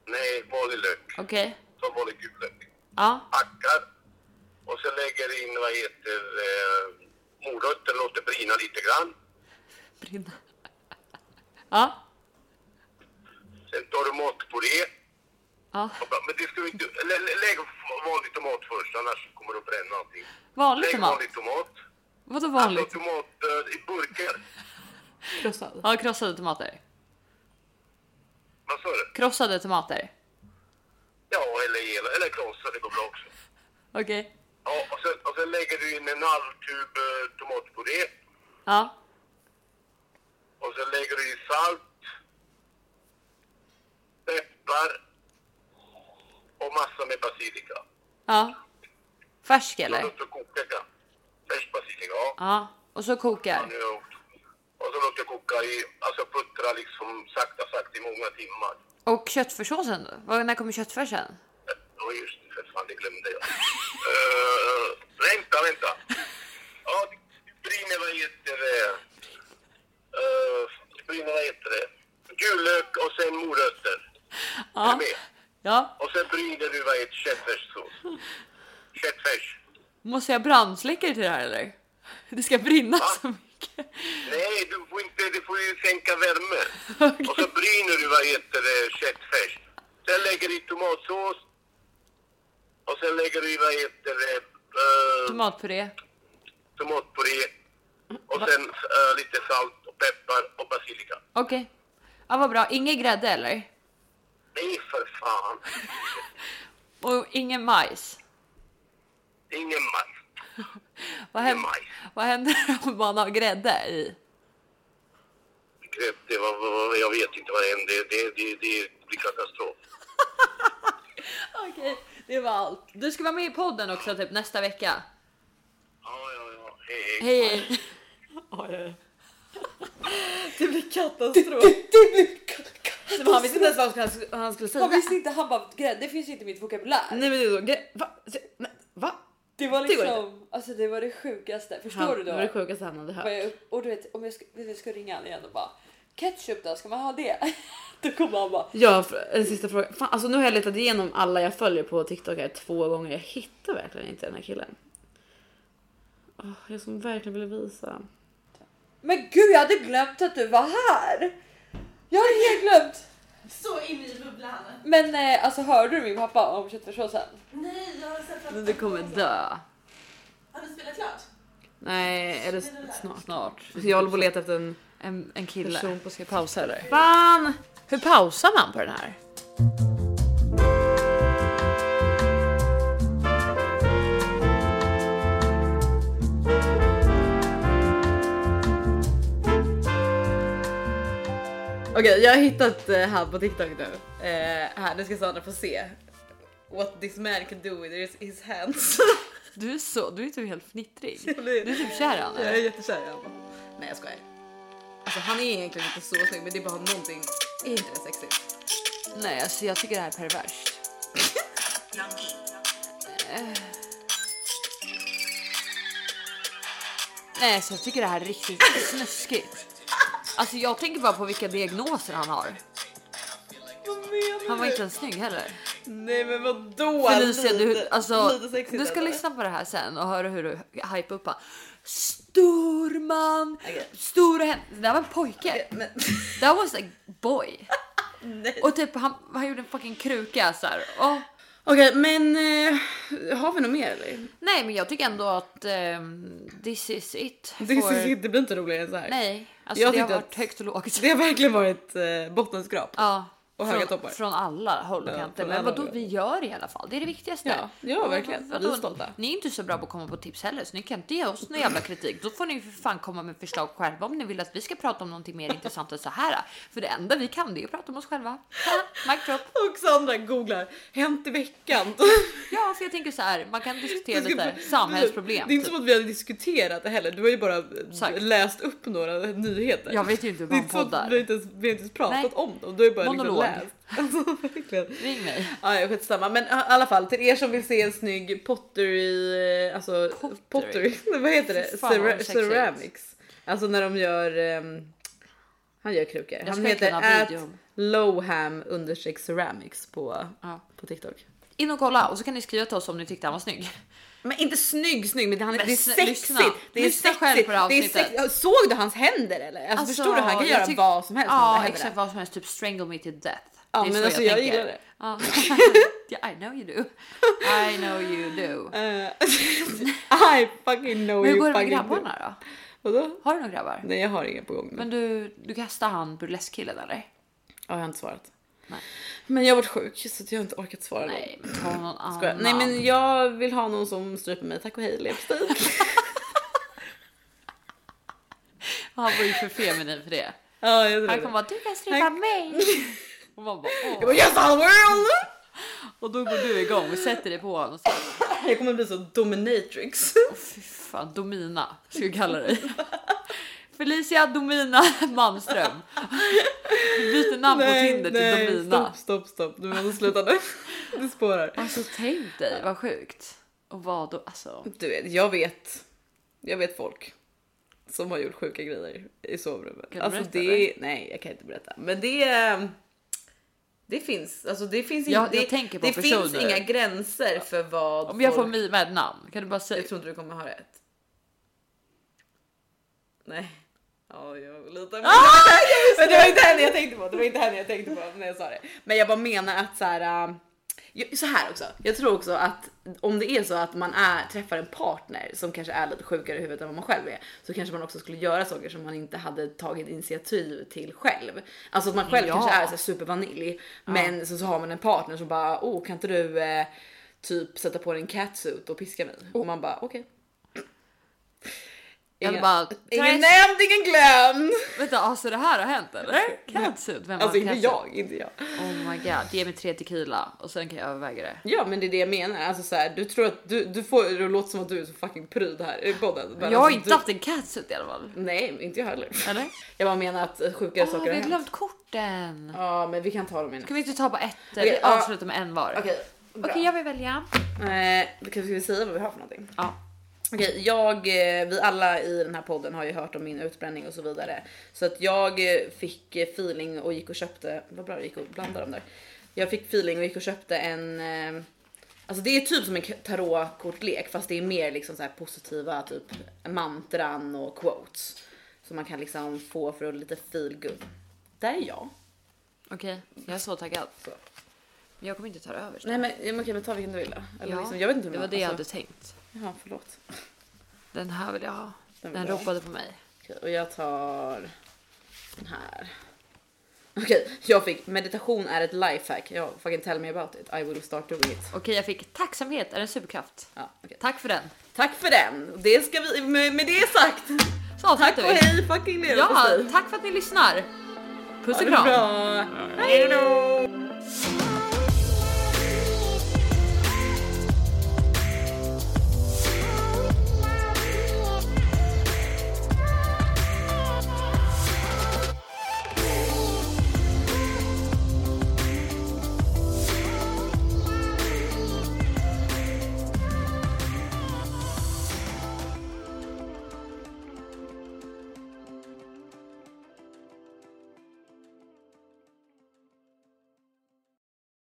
G: Nej, vanlig lök.
B: Okej.
G: Som vanlig gul lök.
B: Ja,
G: hackar och så lägger in vad heter eh, morötter, låter brina lite grann.
B: brinna. Ja,
G: Sen tar du matpuré.
B: ja.
G: Och bara- Men det ska vi inte, lä- lä- lägg vanlig tomat först annars kommer du att bränna allting.
B: Vanlig
G: lägg
B: tomat?
G: vanlig tomat.
B: Vadå
G: Alltså
B: vanligt?
G: tomat eh, i burkar.
A: Krossad.
B: Ja, krossade tomater.
G: Vad sa du?
B: Krossade tomater.
G: Ja, eller hela, eller krossa, det går bra också.
B: Okej.
G: Ja, och sen, och sen lägger du in en halv tub eh, tomatpuré.
B: Ja,
G: Och sen lägger du i salt, peppar och massa med basilika.
B: ja. Färsk
G: Man
B: eller?
G: låter koka ja. färsk basilika. Ja.
B: Ja, och så kokar.
G: Nu, och så låter koka i, alltså puttra liksom sakta sakta i många timmar.
B: Och köttfärssåsen då? Vad- När kommer köttfärsen?
G: Ja just det, för fan det glömde jag. Eh, vänta, vänta. Ja, brinner vad heter det? Uh, brinner vad heter det? Gullök och sen morötter. Är du med?
B: Ja,
G: Och sen bryner du vad heter köttfärssås. Köttfärs.
B: måste jag brandsläckare till det här eller? Det ska brinna så mycket.
G: Nej, du får inte, du får ju sänka värme. Och så bryner du, vad heter det, köttfärs. Sen lägger du i tomatsås. Och sen lägger du i, vad heter det, eh,
B: Tomatpuré.
G: tomatpuré. Och sen eh, lite salt och peppar och basilika.
B: Okej. Ja, vad bra. Ingen grädde eller?
G: Nej, för fan.
B: Och ingen majs.
G: Ingen majs.
B: Vad
G: Ingen
B: händer,
G: majs.
B: vad händer om man har grädde i?
G: Grädde, vad, vad, vad- jag vet inte vad det är. Det, det, det, det blir katastrof.
B: Okej, det var allt. Du ska vara med i podden också typ nästa vecka.
G: Ja, ja, ja. Hej, hej.
B: Hej, hej.
A: Det blir katastrof. Men han visste inte ens vad han skulle, han skulle säga.
B: visste inte, han bara grädde finns inte i mitt vokabulär.
A: Nej men det är så, gre- va? Se- nej, Va?
B: Det var
A: Det går
B: alltså det var det sjukaste. Förstår
A: Han, det var det sjukaste han hade
B: Vad
A: hört.
B: jag upp- Och du vet om jag ska, vet du, jag ska ringa honom igen och bara ketchup då, ska man ha det? Då kommer han bara
A: Ja, för- en sista fråga. Fan, alltså nu har jag letat igenom alla jag följer på TikTok här två gånger. Jag hittar verkligen inte den här killen. Åh, jag som verkligen ville visa.
B: Men gud jag hade glömt att du var här! Jag hade helt glömt!
C: Så inne i bubblan.
B: Men eh, alltså hörde du min pappa om köttfärssåsen?
C: Nej, jag har sett att...
B: Du kommer dö.
C: Har du spelat klart?
A: Nej, eller s- snart.
B: Snart.
A: Så jag håller på att leta efter en
B: En, en kille.
A: person på skrift.
B: Pausa eller? Fan! Hur pausar man på den här?
A: Okej, jag har hittat eh, han på TikTok nu. Eh, här, nu ska Sandra få se. What this man can do with his- his hands.
B: Du är så, du är typ helt fnittrig.
A: Jag blir-
B: Du är typ kär i honom.
A: Jag är jättekär i honom. Nej jag skojar. Alltså han är egentligen inte så snygg men det är bara någonting, är inte det sexigt?
B: Nej alltså jag tycker det här är perverst. Eh. Nej alltså jag tycker det här är riktigt snuskigt. Alltså jag tänker bara på vilka diagnoser han har. Han var inte ens snygg heller.
A: Nej men vadå?
B: Felicia du, alltså,
A: lite sexigt
B: du ska
A: ändå.
B: lyssna på det här sen och höra hur du hypar upp honom. Stor man, stora händer. Det där var en pojke.
A: Men,
B: That was a boy.
A: nej.
B: Och typ han, han gjorde en fucking kruka så här. Åh,
A: Okej, men eh, har vi något mer eller?
B: Nej, men jag tycker ändå att ehm, this is it.
A: Det,
B: for-
A: det blir inte roligare än så här.
B: Nej, alltså
A: Jag
B: det har
A: tyckte att-
B: varit högt och lågt.
A: Det har verkligen varit eh, bottenskrap.
B: Ja.
A: Och höga
B: från,
A: toppar.
B: Från alla håll och
A: Ja,
B: kanter.
A: från
B: Men
A: alla
B: vadå,
A: håll.
B: vi gör i alla fall. Det är det viktigaste.
A: Ja, ja,
B: Och
A: verkligen.
B: vadå,
A: Vi är stolta.
B: Ni är inte så bra på att komma på tips heller, så ni kan inte ge oss någon jävla kritik. Då får ni för fan komma med förslag själva om ni vill att vi ska prata om någonting mer intressant än så här. För det enda vi kan det är att prata om oss själva. Ha, Mic drop.
A: Och Sandra googlar hänt i veckan.
B: Ja, för jag tänker så här, man kan diskutera
A: Det ska-
B: lite samhällsproblem.
A: Det är inte
B: typ.
A: som att vi har diskuterat det heller. Du har ju bara eh,
B: Sagt.
A: läst upp några nyheter.
B: Jag vet ju inte hur
A: det är
B: man
A: inte så att vi har
B: poddar.
A: inte ens, vi har inte ens pratat
B: Nej.
A: om dem. Du har ju bara liksom
B: Monolog.
A: läst. Alltså, verkligen.
B: Ring mig.
A: Ja, ja, skitsamma. Men i alla fall till er som vill se en snygg pottery, alltså
B: Pottery.
A: pottery, Nej, vad heter det?
B: Fy fan, vad
A: Cera-
B: sexigt.
A: ceramics. Alltså när de gör, ehm, han gör krukor. Han
B: ska
A: heter
B: kunna
A: at
B: videon.
A: lowham understreck ceramics på,
B: Ja.
A: på TikTok.
B: In och kolla och så kan ni skriva till oss om ni tyckte han var snygg.
A: Men inte snygg snygg, men det, han, det är
B: snä-
A: sexigt.
B: lyssna.
A: Det är
B: Lyssna
A: sexigt.
B: själv på det här
A: det är
B: avsnittet.
A: sexigt. Såg du hans händer eller? Alltså, förstår du? Han kan
B: jag
A: göra
B: tyck-
A: vad som helst med
B: Ja,
A: sina händer.
B: exakt vad som helst. Typ strangle me to death.
A: Ja,
B: Det är
A: men
B: så
A: alltså, jag
B: tänker.
A: gillar det.
B: Ja. yeah, I know you do. I know you do.
A: Eh, I fucking know
B: Men hur
A: you
B: går det med
A: fucking do.
B: grabbarna då?
A: Vadå?
B: Har du några grabbar?
A: Nej, jag har inga på gång nu.
B: Men du, du kastade han burleskkillen eller?
A: Ja, jag har inte svarat.
B: Nej.
A: Men jag har varit sjuk så att jag har inte orkat svara. någon.
B: Nej, men ta någon
A: Skojar.
B: annan.
A: Nej men jag vill ha någon som stryper mig tack och hej leverpastej.
B: Han var ju för feminin för det.
A: ja jag tror
B: Han kommer
A: det.
B: bara, du kan strypa mig. Och man bara,
A: Jag
B: åh.
A: bara, yes all world!
B: Och då går du igång och sätter dig på honom och säger,
A: Jag kommer bli så dominatrix.
B: fy fan, Domina ska vi kalla dig. Felicia Domina Malmström. Vi byter namn på Tinder till Domina.
A: stopp stopp stopp. Du måste sluta nu. Det spårar.
B: Alltså tänk dig vad sjukt. Och vad då? Alltså,
A: Du vet, jag vet. Jag vet folk. Som har gjort sjuka grejer i sovrummet.
B: Kan du
A: alltså
B: berätta,
A: det, nej jag kan inte berätta. Men det är... Det finns, alltså det finns,
B: Jag-
A: inte-
B: jag
A: det,
B: tänker på
A: det finns
B: personer.
A: inga gränser för vad
B: om jag får
A: folk-
B: mima ett namn kan du bara säga
A: Jag tror inte du kommer ha rätt. Nej. Ja, jag litar på
B: Ah!
A: Men det var inte henne jag tänkte på. Det var inte henne jag tänkte på när jag sa det. Men jag bara menar att så här. äh, jag- Så här också. Jag tror också att om det är så att man är, träffar en partner som kanske är lite sjukare i huvudet än vad man själv är så kanske man också skulle göra saker som man inte hade tagit initiativ till själv. Alltså att man själv
B: Ja.
A: kanske är så här supervanilj men så, så har man en partner som bara oh kan inte du eh, typ sätta på dig en catsuit och piska mig? Och man bara okej.
B: Eller
A: Ingen-
B: bara,
A: Ingen
B: "Therese."
A: nämnd, ingen glömd!
B: Vänta, alltså det här har hänt eller? Catsuit? Vem
A: Alltså
B: har
A: inte
B: catsuit?
A: jag, inte jag.
B: Oh my god, ge mig tre tequila och sen kan jag överväga det.
A: Ja men det är det jag menar, alltså så här, du tror att du, du får det låter som att du är så fucking pryd här i podden. Men
B: jag har
A: alltså,
B: inte
A: du,
B: haft en catsuit i alla fall.
A: Nej, inte jag heller.
B: Eller?
A: Jag bara menar att sjukare
B: Ah,
A: saker
B: vi
A: har
B: har
A: hänt.
B: glömt korten.
A: Ja men vi kan ta dem innan.
B: Kan vi inte ta bara ett?
A: Okej,
B: eller
A: ja.
B: avsluta med en var.
A: Okej, bra.
B: Okej, jag vill välja.
A: Eh, då kanske vi säga vad vi har för någonting?
B: Ja.
A: Okej, jag, eh, vi alla i den här podden har ju hört om min utbränning och så vidare. Så att jag eh, fick eh, feeling och gick och köpte, vad bra det gick att blanda dem där. Jag fick feeling och gick och köpte en, eh, alltså det är typ som en k- tarotkortlek fast det är mer liksom så här positiva typ mantran och quotes. Som man kan liksom få för att lite feel good. Där är jag.
B: Okej, jag är så taggad. Men jag kommer inte ta det över.
A: Nej men, ja, men okej men ta vilken du vill då. Eller
B: Ja,
A: liksom, jag vet inte hur
B: det var
A: man-
B: det jag hade
A: alltså,
B: tänkt.
A: Jaha förlåt.
B: Den här vill jag ha.
A: Den
B: Den,
A: vill jag ha.
B: ropade på mig.
A: Okej, och jag tar den här. Okej, jag fick meditation är ett lifehack. Ja, fucking tell me about it. I will start doing it.
B: Okej, jag fick tacksamhet är en superkraft.
A: Ja, okej.
B: Tack för den.
A: Tack för den. Det ska vi med, med det sagt.
B: Så tack
A: Tack och hej fucking
B: Ja,
A: leverpastej.
B: tack för att ni lyssnar. Puss
A: Ha
B: och
A: det
B: kram.
A: bra. Hej då.